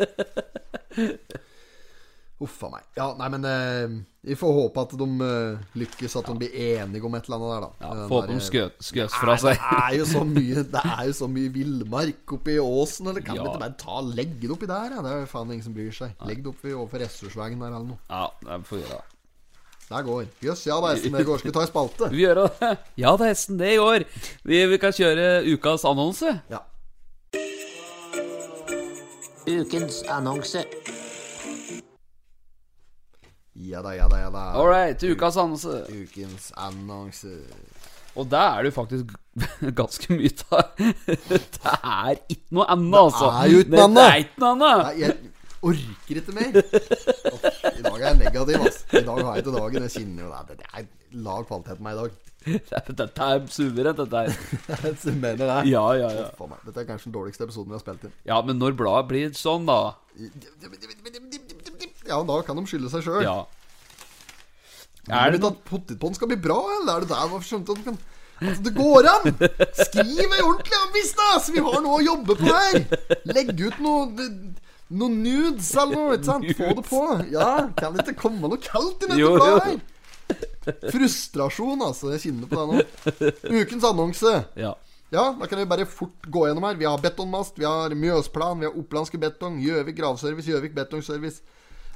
Speaker 1: Uff a meg. Ja, nei, men eh, vi får håpe at de eh, lykkes, at de blir enige om et eller annet der, da.
Speaker 2: ja
Speaker 1: Den
Speaker 2: Få opp
Speaker 1: der,
Speaker 2: dem
Speaker 1: eh,
Speaker 2: skjøt, skjøs
Speaker 1: Nei,
Speaker 2: fra seg.
Speaker 1: Det er jo så mye Det er jo så mye villmark oppi åsen. Eller kan
Speaker 2: Ja.
Speaker 1: vi ikke bare ta legge det oppi der? Ja? Det er jo faen ingen som bryr seg. Legg det oppi overfor ressursveien der eller noe.
Speaker 2: Ja, det får vi gjøre det.
Speaker 1: Der går. Jøss, ja da, Esten, det går. Skal vi ta en spalte?
Speaker 2: Vi gjør det. Ja, det er hesten det i år. Vi, vi kan kjøre ukas annonse.
Speaker 1: Ja.
Speaker 7: Ukens annonse.
Speaker 1: Ja da, ja da, ja da.
Speaker 2: All right, ukas annonse.
Speaker 1: Ukens annonse.
Speaker 2: Og der er det jo faktisk ganske mye ta. Det er ikke noe annet, altså.
Speaker 1: er jo ikke noe
Speaker 2: Det
Speaker 1: annet.
Speaker 2: er ikke noe annet.
Speaker 1: Nei, jeg orker ikke mer. Åh, I dag er jeg negativ, ass. I dag har jeg ikke dagen. Jeg kjenner jo det. Det er lav kvalitet på meg i dag.
Speaker 2: Dette- Dette er suverent, dette her.
Speaker 1: Jeg mener det.
Speaker 2: Ja, ja, ja.
Speaker 1: Faen meg, Dette er kanskje den dårligste episoden vi har spilt inn.
Speaker 2: Ja, men når bladet blir sånn, da
Speaker 1: Ja, da kan de skylde seg sjøl.
Speaker 2: Ja.
Speaker 1: Er
Speaker 2: Er
Speaker 1: det
Speaker 2: det noe
Speaker 1: at potetpåen skal bli bra, eller er det der man skjønte at den kan Altså, det går an! Skriv ei ordentlig avis, da! Så vi har noe å jobbe på her! Legg ut noe noen nudes eller noe, ikke sant? Få det på. Ja, kan det ikke komme noe kaldt i dette
Speaker 2: Jo,
Speaker 1: bladet
Speaker 2: jo.
Speaker 1: her? Frustrasjon, altså. Jeg kjenner på det nå. Ukens annonse.
Speaker 2: Ja.
Speaker 1: Ja, da kan vi bare fort gå gjennom her. Vi har betonmast, vi har Mjøsplan, vi har Opplandske Betong, Gjøvik Gravservice, Gjøvik Betongservice,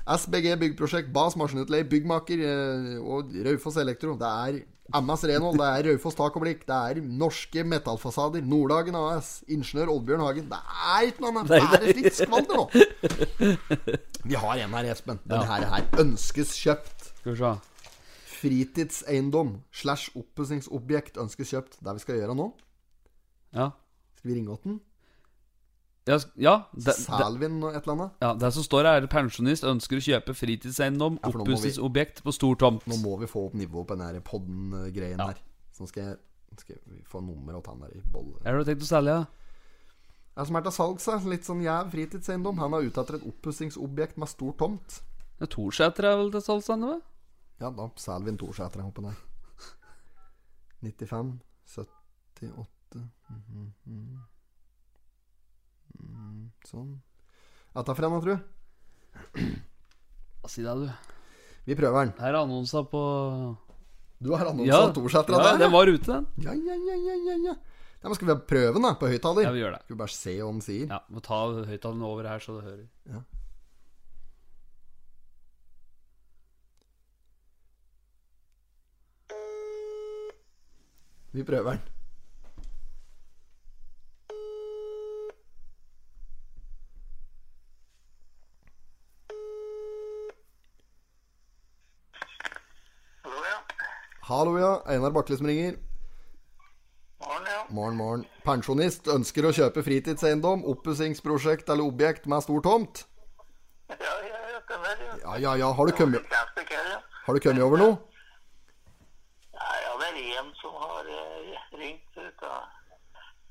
Speaker 1: SBG Byggprosjekt, Bas Maskinutleie, Byggmaker eh, og Raufoss Elektro. Det er MS Renhold, det er Raufoss Tak og Blikk, det er Norske Metallfasader, Nordhagen AS, Ingeniør Oddbjørn Hagen. Det er ikke noe annet. Det er et fritt skvander nå. Vi har en her, Espen. Denne her, her ønskes kjøpt.
Speaker 2: Skal vi se.
Speaker 1: fritidseiendom slash oppussingsobjekt ønskes kjøpt. Det vi skal gjøre nå,
Speaker 2: Ja.
Speaker 1: skal vi ringe åt den?
Speaker 2: Ja, s- ja, det, det,
Speaker 1: Selger vi den og et eller annet?
Speaker 2: ja, det som står her, er pensjonist ønsker å kjøpe fritidseiendom,
Speaker 1: Ja, for nå må vi-
Speaker 2: oppussingsobjekt på stor tomt.
Speaker 1: Nå må vi få opp nivået på den her podden-greien
Speaker 2: Ja.
Speaker 1: her. Så nå skal jeg skal vi få nummeret åt han der i bolle.
Speaker 2: Er det du har tenkt å selge?
Speaker 1: Det er som er til salgs, da. Litt sånn jæv fritidseiendom. Han er ute etter et oppussingsobjekt med stor tomt.
Speaker 2: Ja, Torseter er vel til salgs ennå? vel?
Speaker 1: Ja, da selger vi en Torseter her oppe der. 95, 78 mhm, mhm. Mm, Sånn. Ja, ta frem, da, tru.
Speaker 2: Si det, du.
Speaker 1: Vi prøver den.
Speaker 2: Her er annonsa på
Speaker 1: Du har annonsa ja. Torseter
Speaker 2: ja,
Speaker 1: der?
Speaker 2: den var ute, den.
Speaker 1: Ja, ja, ja, ja, ja, ja. ja men skal vi prøve den da, på høyttaler?
Speaker 2: Ja, vi gjør det.
Speaker 1: Skal vi bare se hva den sier?
Speaker 2: Ja, Må ta høyttaleren over her, så du hører.
Speaker 1: Vi prøver den.
Speaker 8: Hallo, ja.
Speaker 1: Hallo, ja. Einar Bakle som ringer.
Speaker 8: Morgen, ja.
Speaker 1: Morgen, morgen. Pensjonist ønsker å kjøpe fritidseiendom, oppussingsprosjekt eller objekt med stor tomt.
Speaker 8: Ja, ja, ja, stemmer, ja.
Speaker 1: Ja, ja, ja. Har du kommet,
Speaker 8: Kraftig kveld, ja.
Speaker 1: har du kommet over noe?
Speaker 8: Nei, ja, det er en som har eh, ringt ut av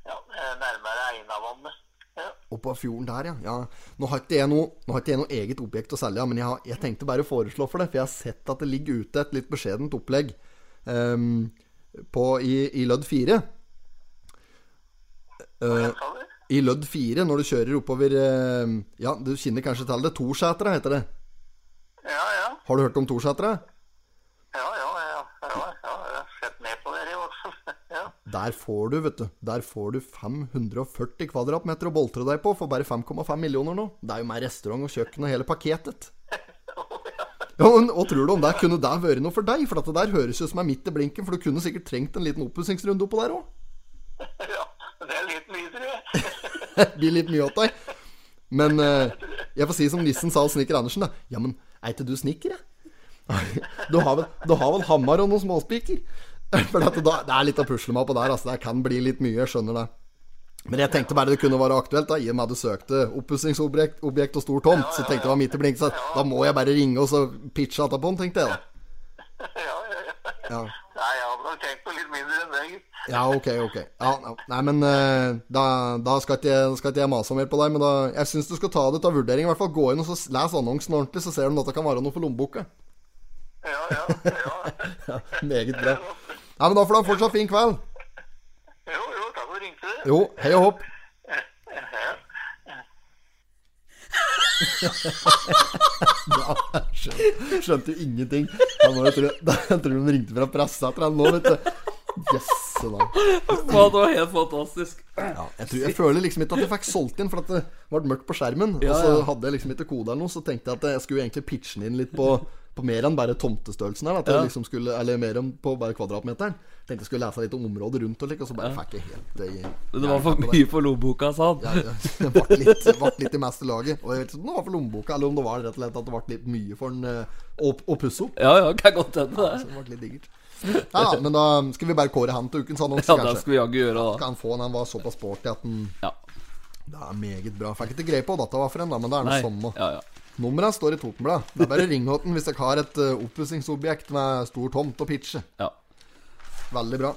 Speaker 8: ja, eh, nærmere Einavannet. Ja,
Speaker 1: Oppå fjorden der, ja. ja. Nå har ikke jeg noe, nå har ikke jeg noe eget objekt å selge, men jeg, har, jeg tenkte bare å foreslå for det, for jeg har sett at det ligger ute et litt beskjedent opplegg ehm, på, i, i lødd 4.
Speaker 8: sa du?
Speaker 1: I lødd 4, når du kjører oppover ehm, Ja, du kjenner kanskje til det. Torsetra heter det.
Speaker 8: Ja, ja.
Speaker 1: Har du hørt om Torsetra?
Speaker 8: Ja, ja, ja. ja, ja, jeg har sett ned på dere i hvert fall. Ja,
Speaker 1: Der får du, vet du. Der får du 540 kvadratmeter å boltre deg på for bare 5,5 millioner nå. Det er jo med restaurant og kjøkken og hele pakketet. Ja, men Hva tror du om det? Kunne det vært noe for deg? For at det der høres jo som er midt i blinken, for du kunne sikkert trengt en liten oppussingsrunde oppå der òg.
Speaker 8: ja. Det er litt mye, tror jeg.
Speaker 1: Blir litt mye åt deg. Men eh, jeg får si som nissen sa til snekker Andersen, da. Ja, men er ikke du snekker, jeg? Du har, vel, du har vel hammer og noen småspiker? For at da, det er litt å pusle meg på der, altså. Det kan bli litt mye, jeg skjønner det. Men jeg tenkte bare det kunne være aktuelt, da, i og med at du søkte oppussingsobjekt objekt og stor tomt. Så tenkte jeg det var midt i blinken, så da må jeg bare ringe og så pitche etterpå, tenkte jeg da.
Speaker 8: Ja, ja, ja.
Speaker 1: Ja.
Speaker 8: Nei, jeg hadde nok tenkt på litt mindre enn deg.
Speaker 1: Ja, ok, ok. Ja, ja. nei, men eh, da, da skal ikke jeg, skal ikke jeg mase mer på deg. Men da, jeg syns du skal ta det til vurdering. I hvert fall Gå inn og så s- les annonsen ordentlig, så ser du om dette kan være noe for lommeboka.
Speaker 8: Ja, ja, ja.
Speaker 1: Meget bra. Nei, men Da får du ha en fortsatt fin kveld.
Speaker 8: Jo, jo, takk for at du ringte.
Speaker 1: Jo, hei og hopp. Ja, jeg skjønte, skjønte jo ingenting. Han var, jo, tror jeg, jeg tror de ringte fra pressesenteret nå, vet du. Jøsse navn.
Speaker 2: Ja, det var helt fantastisk.
Speaker 1: Ja, jeg, tror, jeg føler liksom ikke at jeg fikk solgt inn, for at det ble mørkt på skjermen. Og så
Speaker 2: ja.
Speaker 1: hadde jeg liksom ikke kode eller noe, så tenkte jeg at jeg skulle egentlig pitche den inn litt på, på mer enn bare tomtestørrelsen her. At jeg liksom skulle, eller mer enn på bare kvadratmeteren. Tenkte jeg skulle lese litt om området rundt og slik, og så bare fikk jeg helt eh,
Speaker 2: Men det var for mye for lommeboka, sa han.
Speaker 1: ja, ja, det ble litt, det ble litt i meste laget. Og jeg vet ikke om det var for lommeboka, eller om det var rett og slett at det ble litt mye for den eh, å, å pusse opp.
Speaker 2: Ja, ja, kan godt hende
Speaker 1: Så
Speaker 2: det.
Speaker 1: det ble litt digert. Ja, ja, men da skal vi bare kåre han til ukens annonse,
Speaker 2: Ja, det
Speaker 1: kanskje.
Speaker 2: skal vi jaggu gjøre, da.
Speaker 1: Kan han få han, han var såpass sporty at han
Speaker 2: Ja.
Speaker 1: Det er meget bra. Fikk ikke greie på hva dette var for en, da, men det er
Speaker 2: Nei.
Speaker 1: noe samme.
Speaker 2: Ja, ja.
Speaker 1: Nummeret står i Totenbladet. Det er bare å ringe åt den hvis dere har et uh, oppussingsobjekt med stor tomt og pitche.
Speaker 2: ja.
Speaker 1: Veldig bra.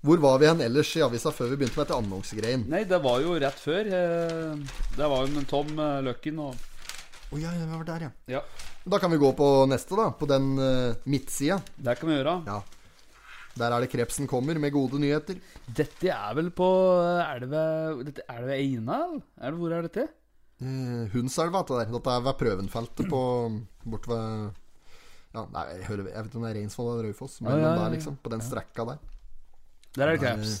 Speaker 1: Hvor var vi hen ellers i avisa før vi begynte med dette annonsegreien?
Speaker 2: Nei, det var jo rett før. eh, Det var jo med Tom eh, Løkken og
Speaker 1: Å ja, ja, vi var der, ja.
Speaker 2: Ja,
Speaker 1: Da kan vi gå på neste, da. På den uh, midtsida.
Speaker 2: det kan vi gjøre.
Speaker 1: Ja. Der er det Krepsen kommer med gode nyheter.
Speaker 2: Dette er vel på eh, Er det ved, dette- er det ved Eina? eller? Er det, hvor er dette?
Speaker 1: Eh, Hundselva, dette der. Dette er ved Prøvenfeltet på Bort ved ja, nei, jeg, hører, jeg vet ikke om det er Reinsvoll eller Raufoss, men
Speaker 2: Ja, ja, ja,
Speaker 1: der,
Speaker 2: ja.
Speaker 1: liksom. På den strekka der.
Speaker 2: Der er det kreps.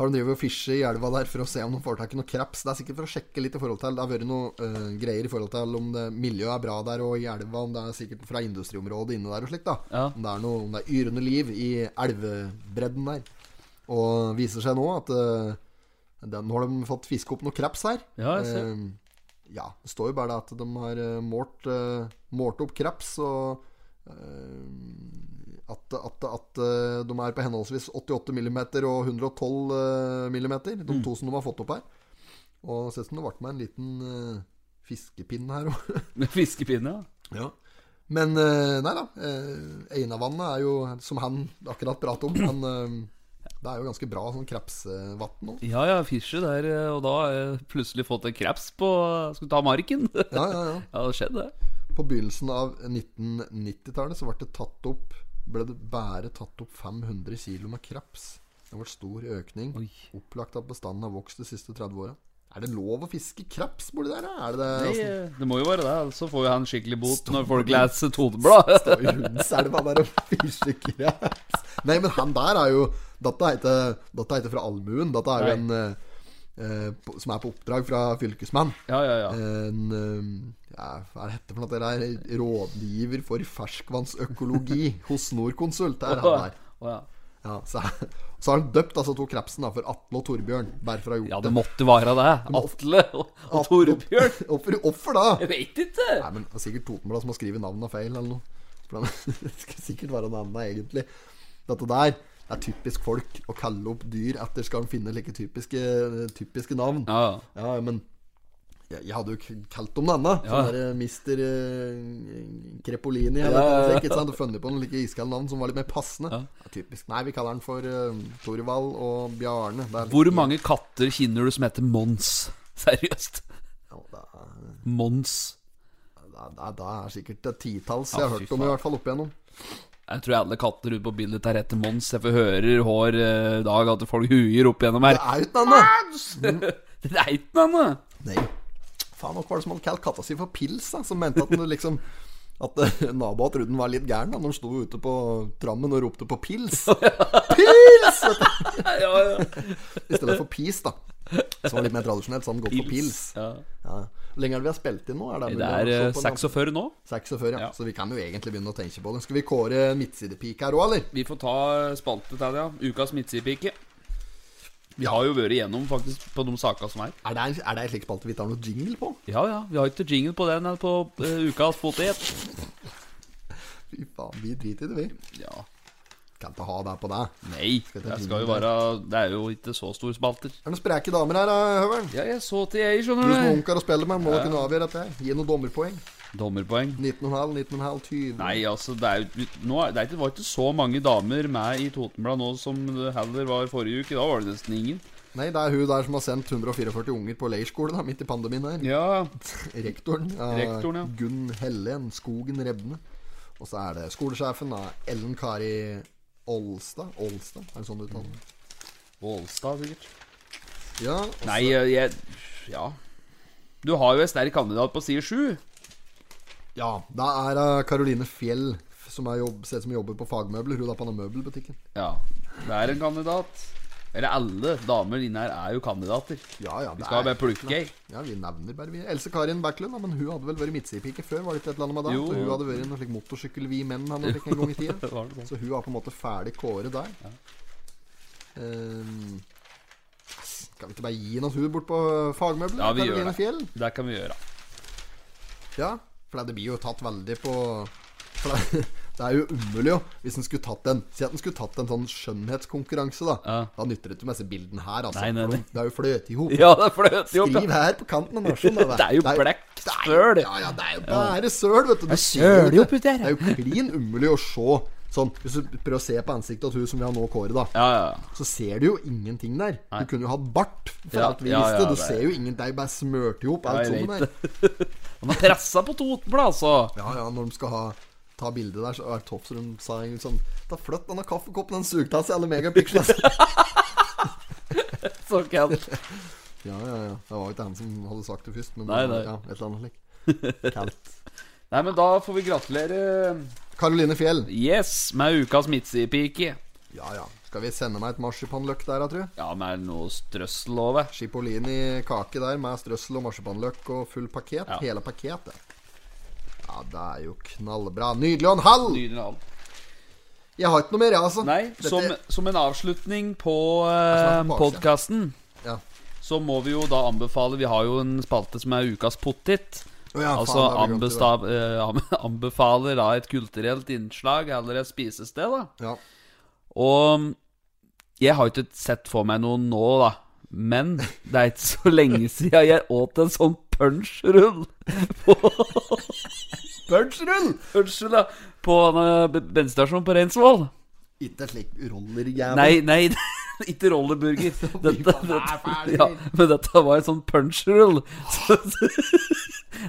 Speaker 1: Har de drevet og fisket i elva der for å se om de får tak i noe kreps? Det er sikkert for å sjekke litt i forhold til Det har vært noe eh, greier i forhold til om det, miljøet er bra der og i elva, om det er sikkert fra industriområdet inne der og slikt, da.
Speaker 2: Ja.
Speaker 1: Om det er noe om det er yrende liv i elvebredden der. Og viser seg nå at eh, den, Nå har de fått fiske opp noe kreps her.
Speaker 2: Ja, jeg ser.
Speaker 1: Ehm, Eh, ja, det står jo bare det at de har eh, målt, eh, målt opp kreps og eh, at, at, at eh, de er på henholdsvis 88 mm og 112 mm, de to som de har fått opp her. Og det ser ut som det ble meg en liten eh, fiskepinn her òg.
Speaker 2: Med fiskepinne, ja.
Speaker 1: Ja. Men eh, nei da. Eh, Einavannet er jo, som han akkurat pratet om han, eh, Det er jo ganske bra sånn krepsvann nå.
Speaker 2: Ja, ja, Fischer der, eh, og da eh, plutselig fått en kreps på Skal ta marken. ja,
Speaker 1: Ja, ja, ja.
Speaker 2: det skjedde, det.
Speaker 1: På begynnelsen av 1990-tallet så ble det tatt opp Ble det bare tatt opp 500 kilo med kreps. Det har vært stor økning.
Speaker 2: Oi.
Speaker 1: Opplagt at bestanden har vokst de siste 30 åra. Er det lov å fiske kreps borti der? da? Er det
Speaker 2: Det,
Speaker 1: det?
Speaker 2: eh, det må jo være det, ellers så får jo han skikkelig bot når folk leser Toteblad.
Speaker 1: Og altså, i hundens er det bare der å fiske kreps. Nei, men han der er jo Dette heter, dette heter fra allmuen. Dette er jo en
Speaker 2: Nei.
Speaker 1: eh, eh, på- som er på oppdrag fra fylkesmann.
Speaker 2: Ja, ja, ja.
Speaker 1: En eh, ja, Hva er det heter for noe? Det der rådgiver for ferskvannsøkologi hos Norconsult. Det er han der.
Speaker 2: Å, ja.
Speaker 1: Ja, så, så har han døpt altså to krepsen da, for Atle og Torbjørn. Bare for å ha gjort
Speaker 2: ja, det måtte være det. Atle og, og Torbjørn.
Speaker 1: Hvorfor, hvorfor da?
Speaker 2: Jeg vet ikke.
Speaker 1: Nei, men det er sikkert Totenblad som har skrevet navnet feil eller noe. For han- Det skulle sikkert være navnet, egentlig. Dette der det er typisk folk å kalle opp dyr etter skal de finne like typiske, typiske navn.
Speaker 2: Ja, ja.
Speaker 1: Ja, men jeg, jeg hadde jo k- kalt dem denne.
Speaker 2: Ja.
Speaker 1: Sånn derre Mister eh, Crepolini eller
Speaker 2: Ja, ja,
Speaker 1: noe
Speaker 2: ja.
Speaker 1: slikt. ikke sant? Og funnet på noen like iskalde navn som var litt mer passende.
Speaker 2: Ja.
Speaker 1: Det er typisk. Nei, vi kaller den for uh, Torvald og Bjarne. Det er
Speaker 2: Hvor
Speaker 1: litt-
Speaker 2: mange katter kjenner du som heter Mons? Seriøst.
Speaker 1: Ja, det, er,
Speaker 2: Mons.
Speaker 1: det, er, det, er, det er sikkert et titalls
Speaker 2: Ja,
Speaker 1: jeg har
Speaker 2: fy
Speaker 1: hørt om, i hvert fall opp igjennom.
Speaker 2: Jeg tror alle katter ute på bildet tar etter Mons. Jeg får hører hver eh, dag at folk huier opp gjennom
Speaker 1: Det
Speaker 2: her.
Speaker 1: er jo ikke noe annet!
Speaker 2: Det er ikke noe annet.
Speaker 1: Nei. Faen, hva var det som hadde kalt katta si for Pils, da? Som mente at den liksom At eh, naboen trodde den var litt gæren da når den sto ute på trammen og ropte på Pils. Pils!
Speaker 2: Ja, ja.
Speaker 1: I stedet for Pis, da. Som var litt mer tradisjonelt, så hadde den gått for Pils.
Speaker 2: Ja.
Speaker 1: Ja. Hvor lenge er det vi har spilt inn nå? Er det,
Speaker 2: Det er eh,
Speaker 1: mulig å se på en-
Speaker 2: 46 nå.
Speaker 1: 46, ja.
Speaker 2: Ja.
Speaker 1: Så vi kan jo egentlig begynne å tenke på det. Skal vi kåre midtsidepik her òg, eller?
Speaker 2: Vi får ta eh, spalte til det, ja. Ukas midtsidepike. Vi har jo vært igjennom faktisk på de sakene som er.
Speaker 1: Er det, en, er det en slik spalte vi tar noe jingle på?
Speaker 2: Ja, ja. Vi har ikke jingle på den eller på eh, ukas potet.
Speaker 1: Fy faen, vi driter i det, vi.
Speaker 2: Ja.
Speaker 1: Kan ikke ha det på deg.
Speaker 2: Nei. Det skal jo være Det er jo ikke så store spalter.
Speaker 1: Er det noen spreke damer her, da, Høveren?
Speaker 2: Ja, jeg så til jeg,
Speaker 1: Du som
Speaker 2: skjønner du.
Speaker 1: ungkar å spille med, må da kunne avgjøre dette. her Gi noen dommerpoeng.
Speaker 2: Dommerpoeng.
Speaker 1: 19,5, 19,5, 20
Speaker 2: Nei, altså, det, er, jo- nå er, det, er ikke, var ikke så mange damer med i Totenbladet nå som det heller var forrige uke. Da var det nesten ingen.
Speaker 1: Nei, det er hun der som har sendt 144 unger på leirskole da, midt i pandemien her.
Speaker 2: Ja,
Speaker 1: Rektoren. av
Speaker 2: Rektoren, ja.
Speaker 1: Gunn Hellen Skogen Rebne. Og så er det skolesjefen av Ellen Kari Olstad. Olstad, er det sånn du uttaler det?
Speaker 2: Mm. Ålstad sikkert.
Speaker 1: Ja. og så-
Speaker 2: Nei, jeg Ja. Du har jo en sterk kandidat på side sju.
Speaker 1: Ja, da er det Karoline Fjell, som er jobb, ser ut som jobber på fagmøbler. Hun er på den møbelbutikken.
Speaker 2: Ja, det er en kandidat. Eller alle damer inne her er jo kandidater.
Speaker 1: Ja, ja,
Speaker 2: Vi
Speaker 1: det
Speaker 2: skal
Speaker 1: er
Speaker 2: bare plukke ei.
Speaker 1: Ja, vi nevner bare vi. Else Karin Berklund, da, men hun hadde vel vært midtsidepike før? Var det ikke et eller annet med det?
Speaker 2: Jo.
Speaker 1: At Hun hadde vært i noe slik motorsykkel vi menn hadde vært en gang i tida.
Speaker 2: Var det sånn?
Speaker 1: Så hun har på en måte ferdig kåret der. Ehm, skal vi ikke bare gi noe hun bort på fagmøbler?
Speaker 2: Ja, vi gjør
Speaker 1: Caroline
Speaker 2: det.
Speaker 1: Fjell?
Speaker 2: Det kan vi gjøre.
Speaker 1: Ja, for det blir jo tatt veldig på for det, det er jo umulig, jo, hvis en skulle tatt en Si at en skulle tatt en sånn skjønnhetskonkurranse, da.
Speaker 2: Ja.
Speaker 1: Da nytter det ikke med disse bildene her, altså.
Speaker 2: Nei, nei, nei.
Speaker 1: Det er jo fløt i hop.
Speaker 2: Ja, det fløter jo opp.
Speaker 1: Skriv her på kanten av nasjonen. da,
Speaker 2: Det er jo blekk søl.
Speaker 1: Ja, ja, det er jo bare søl, vet du. Du ser
Speaker 2: søler
Speaker 1: jo
Speaker 2: opp
Speaker 1: ikke.
Speaker 2: ut der, ja.
Speaker 1: Det er jo klin umulig å se sånn. Hvis du prøver å se på ansiktet til hun som vi har nå kåret, da,
Speaker 2: Ja, ja.
Speaker 1: så ser du jo ingenting der. Du
Speaker 2: Nei.
Speaker 1: kunne jo hatt bart, for
Speaker 2: Ja,
Speaker 1: alt vi
Speaker 2: ja, ja,
Speaker 1: visste. Du
Speaker 2: det er-
Speaker 1: ser jo ingen. Det er jo bare smørt i hop,
Speaker 2: Ja,
Speaker 1: alt
Speaker 2: jeg
Speaker 1: sammen
Speaker 2: vet
Speaker 1: der.
Speaker 2: Han har pressa på Totenbladet, altså.
Speaker 1: Ja, ja, når de skal ha Ta bildet der, så er det topp som de sa en gang sånn Ta flytt denne kaffekoppen, den sugtassa, alle megapixels.
Speaker 2: Så kan
Speaker 1: ja, ja, ja. Det var jo ikke han som hadde sagt det først, men
Speaker 2: Nei, nei.
Speaker 1: Ja, et eller annet slikt. Kaldt.
Speaker 2: Nei, men da får vi gratulere eh,
Speaker 1: Karoline Fjell.
Speaker 2: Yes med ukas midtsidepike.
Speaker 1: Ja, ja. Skal vi sende meg et marsipanløk der, da, tru?
Speaker 2: Ja, med noe strøssel over.
Speaker 1: Chipolini kake der med strøssel og marsipanløk og full pakket.
Speaker 2: Ja.
Speaker 1: Hele paketet. Ja, det er jo knallbra. Nydelig og en halv!
Speaker 2: Nydelig navn.
Speaker 1: Jeg har ikke noe mer, jeg, altså.
Speaker 2: Nei,
Speaker 1: Dette-
Speaker 2: som, som en avslutning på
Speaker 1: Jeg
Speaker 2: eh,
Speaker 1: snakker bak,
Speaker 2: podkasten,
Speaker 1: Ja.
Speaker 2: så må vi jo da anbefale Vi har jo en spalte som er Ukas pottit.
Speaker 1: Å ja, faen,
Speaker 2: Altså
Speaker 1: da har vi glemt det.
Speaker 2: anbesta- eh, am- anbefaler da et kulturelt innslag eller et spisested, da.
Speaker 1: Ja.
Speaker 2: Og jeg har ikke sett for meg noe nå, da. Men det er ikke så lenge siden jeg åt en sånn punchrull. På- punchrull? Punchrull, ja. På en eh, be- bensinstasjon på Reinsvoll.
Speaker 1: Ikke slik rollerjævel.
Speaker 2: Nei, nei, ikke rollerburger. Dette, dette, ja, men dette var en sånn punchrull. Så- så-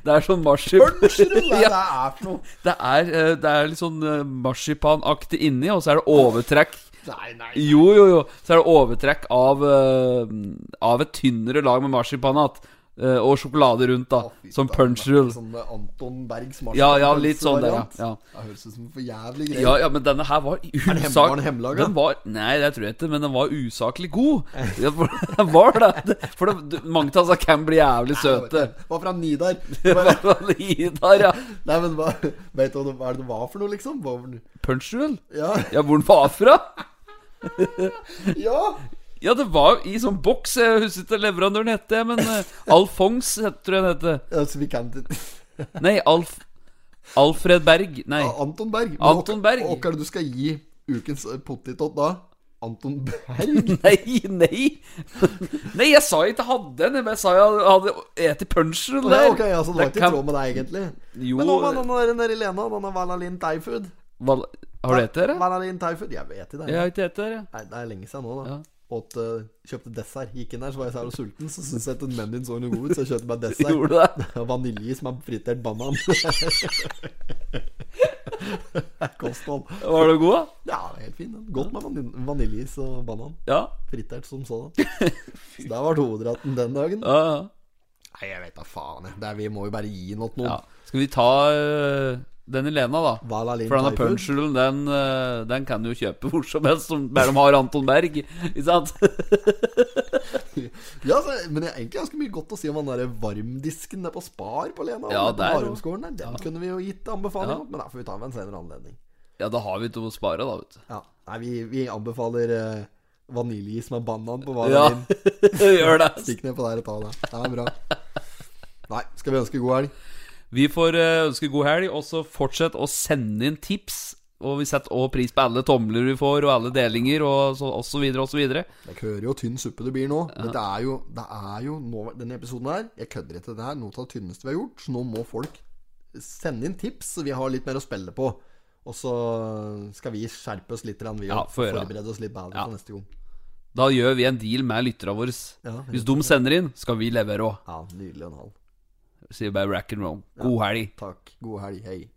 Speaker 2: Det er sånn marsipan
Speaker 1: Punchrull, hva er det
Speaker 2: Ja,
Speaker 1: er for noe?
Speaker 2: det er, eh, det er litt sånn eh, marsipanaktig inni, og så er det overtrekk
Speaker 1: Nei, nei.
Speaker 2: Jo, jo, jo. Så er det overtrekk av, eh, av et tynnere lag med marsipan att, eh, og sjokolade rundt, da.
Speaker 1: Å, fy
Speaker 2: som
Speaker 1: faen,
Speaker 2: punchrull.
Speaker 1: Sånn eh, Anton Bergs
Speaker 2: Ja, ja, litt sånn der, ja.
Speaker 1: marsipanpølsevariant.
Speaker 2: ja.
Speaker 1: Det høres ut som en for jævlig greie.
Speaker 2: Ja, ja, men denne her var
Speaker 1: den hem-
Speaker 2: usak...
Speaker 1: var den hemmelaga?
Speaker 2: Den var, nei, det tror jeg ikke, men den var usaklig god. Ja, for den var det. For det, du- mange av disse kan bli jævlig søte.
Speaker 1: Var fra Nidar.
Speaker 2: Det
Speaker 1: Bare-
Speaker 2: var i der, ja.
Speaker 1: Nei, men hva Vet du hva det- hva er det det var for noe, liksom? Hva var det-
Speaker 2: Punchrull?
Speaker 1: Ja,
Speaker 2: Ja, hvor den var fra?
Speaker 1: ja.
Speaker 2: Ja, det var i sånn boks. Jeg husker ikke leverandøren het det, men eh, Alfons het- tror jeg den heter.
Speaker 1: ja så altså, vi kan ikke-
Speaker 2: Nei, Alf Alfred Berg. Nei.
Speaker 1: Ja, Anton Berg. Men
Speaker 2: Anton
Speaker 1: hva-
Speaker 2: Berg.
Speaker 1: Hva er det du skal gi ukens eh, potetot da? Anton Berg?
Speaker 2: Nei, nei! Nei, jeg sa jeg ikke hadde den. Jeg bare sa jeg hadde spist punchen der.
Speaker 1: Nei, ok, altså, Det var ikke i
Speaker 2: kan-
Speaker 1: tråd med deg, egentlig.
Speaker 2: Jo
Speaker 1: Men hva med den der nede i Lena? Denne Valalin Thai Food?
Speaker 2: hva, Har du hett det? eller?
Speaker 1: Valalin Thai Food? Jeg vet ikke det.
Speaker 2: Jeg har ikke hett det. jeg.
Speaker 1: Nei, det er lenge siden nå, da.
Speaker 2: Ja.
Speaker 1: Åt, eh, kjøpte dessert. Gikk inn der, så var jeg så jævlig sulten. Så syntes jeg at menyen så noe god ut, så jeg kjøpte meg
Speaker 2: Gjorde
Speaker 1: dessert.
Speaker 2: du det?
Speaker 1: Vaniljeis med fritert banan. Kosthold.
Speaker 2: Var du god, da?
Speaker 1: Ja, det er helt fin. den. Godt med vanil- vaniljeis og banan.
Speaker 2: Ja.
Speaker 1: Fritert som sådan. Så det var hovedretten den dagen.
Speaker 2: ja, ja.
Speaker 1: Nei, jeg vet da faen. jeg. Det er, vi må jo bare gi noe til
Speaker 2: ja.
Speaker 1: noen.
Speaker 2: Skal vi ta øh, den i Lena, da?
Speaker 1: Vala Lind
Speaker 2: For denne
Speaker 1: Thai Food.
Speaker 2: punchrullen, den, øh, den kan du jo kjøpe hvor som helst, som bare de har Anton Berg. Ikke sant?
Speaker 1: Ja, så, men det er egentlig ganske mye godt å si om den der varmdisken der på Spar på Lena.
Speaker 2: Ja,
Speaker 1: Ja, på
Speaker 2: der, ja.
Speaker 1: Varumskolen der. Den kunne vi jo gitt anbefaling
Speaker 2: Ja.
Speaker 1: om, men da får vi ta med en senere anledning.
Speaker 2: Ja, da har vi ikke noe å spare, da, vet du.
Speaker 1: Ja. Nei, vi, vi anbefaler eh, vaniljeis med banan på Vala
Speaker 2: Ja,
Speaker 1: Lind.
Speaker 2: gjør det.
Speaker 1: Stikk ned på der og ta det. Det er bra. Nei, skal vi ønske god helg?
Speaker 2: Vi får eh, ønske god helg, og så fortsett å sende inn tips. Og vi setter også pris på alle tomler vi får, og alle delinger, og så, og så videre, og så videre.
Speaker 1: Jeg hører jo tynn suppe det blir nå. Dette er jo, det er jo nå, Denne episoden her, jeg kødder ikke, det er noe av det tynneste vi har gjort. Så nå må folk sende inn tips, så vi har litt mer å spille på. Og så skal vi skjerpe oss litt, grann, vi
Speaker 2: Ja,
Speaker 1: og
Speaker 2: få gjøre det.
Speaker 1: forberede oss litt bedre
Speaker 2: Ja.
Speaker 1: for neste gang.
Speaker 2: Da gjør vi en deal med lytterne våre.
Speaker 1: Ja,
Speaker 2: Hvis de sender inn, skal vi levere òg.
Speaker 1: Ja, nydelig og en halv.
Speaker 2: Sier bare rack and roll. God helg.
Speaker 1: Takk. God helg. Hei.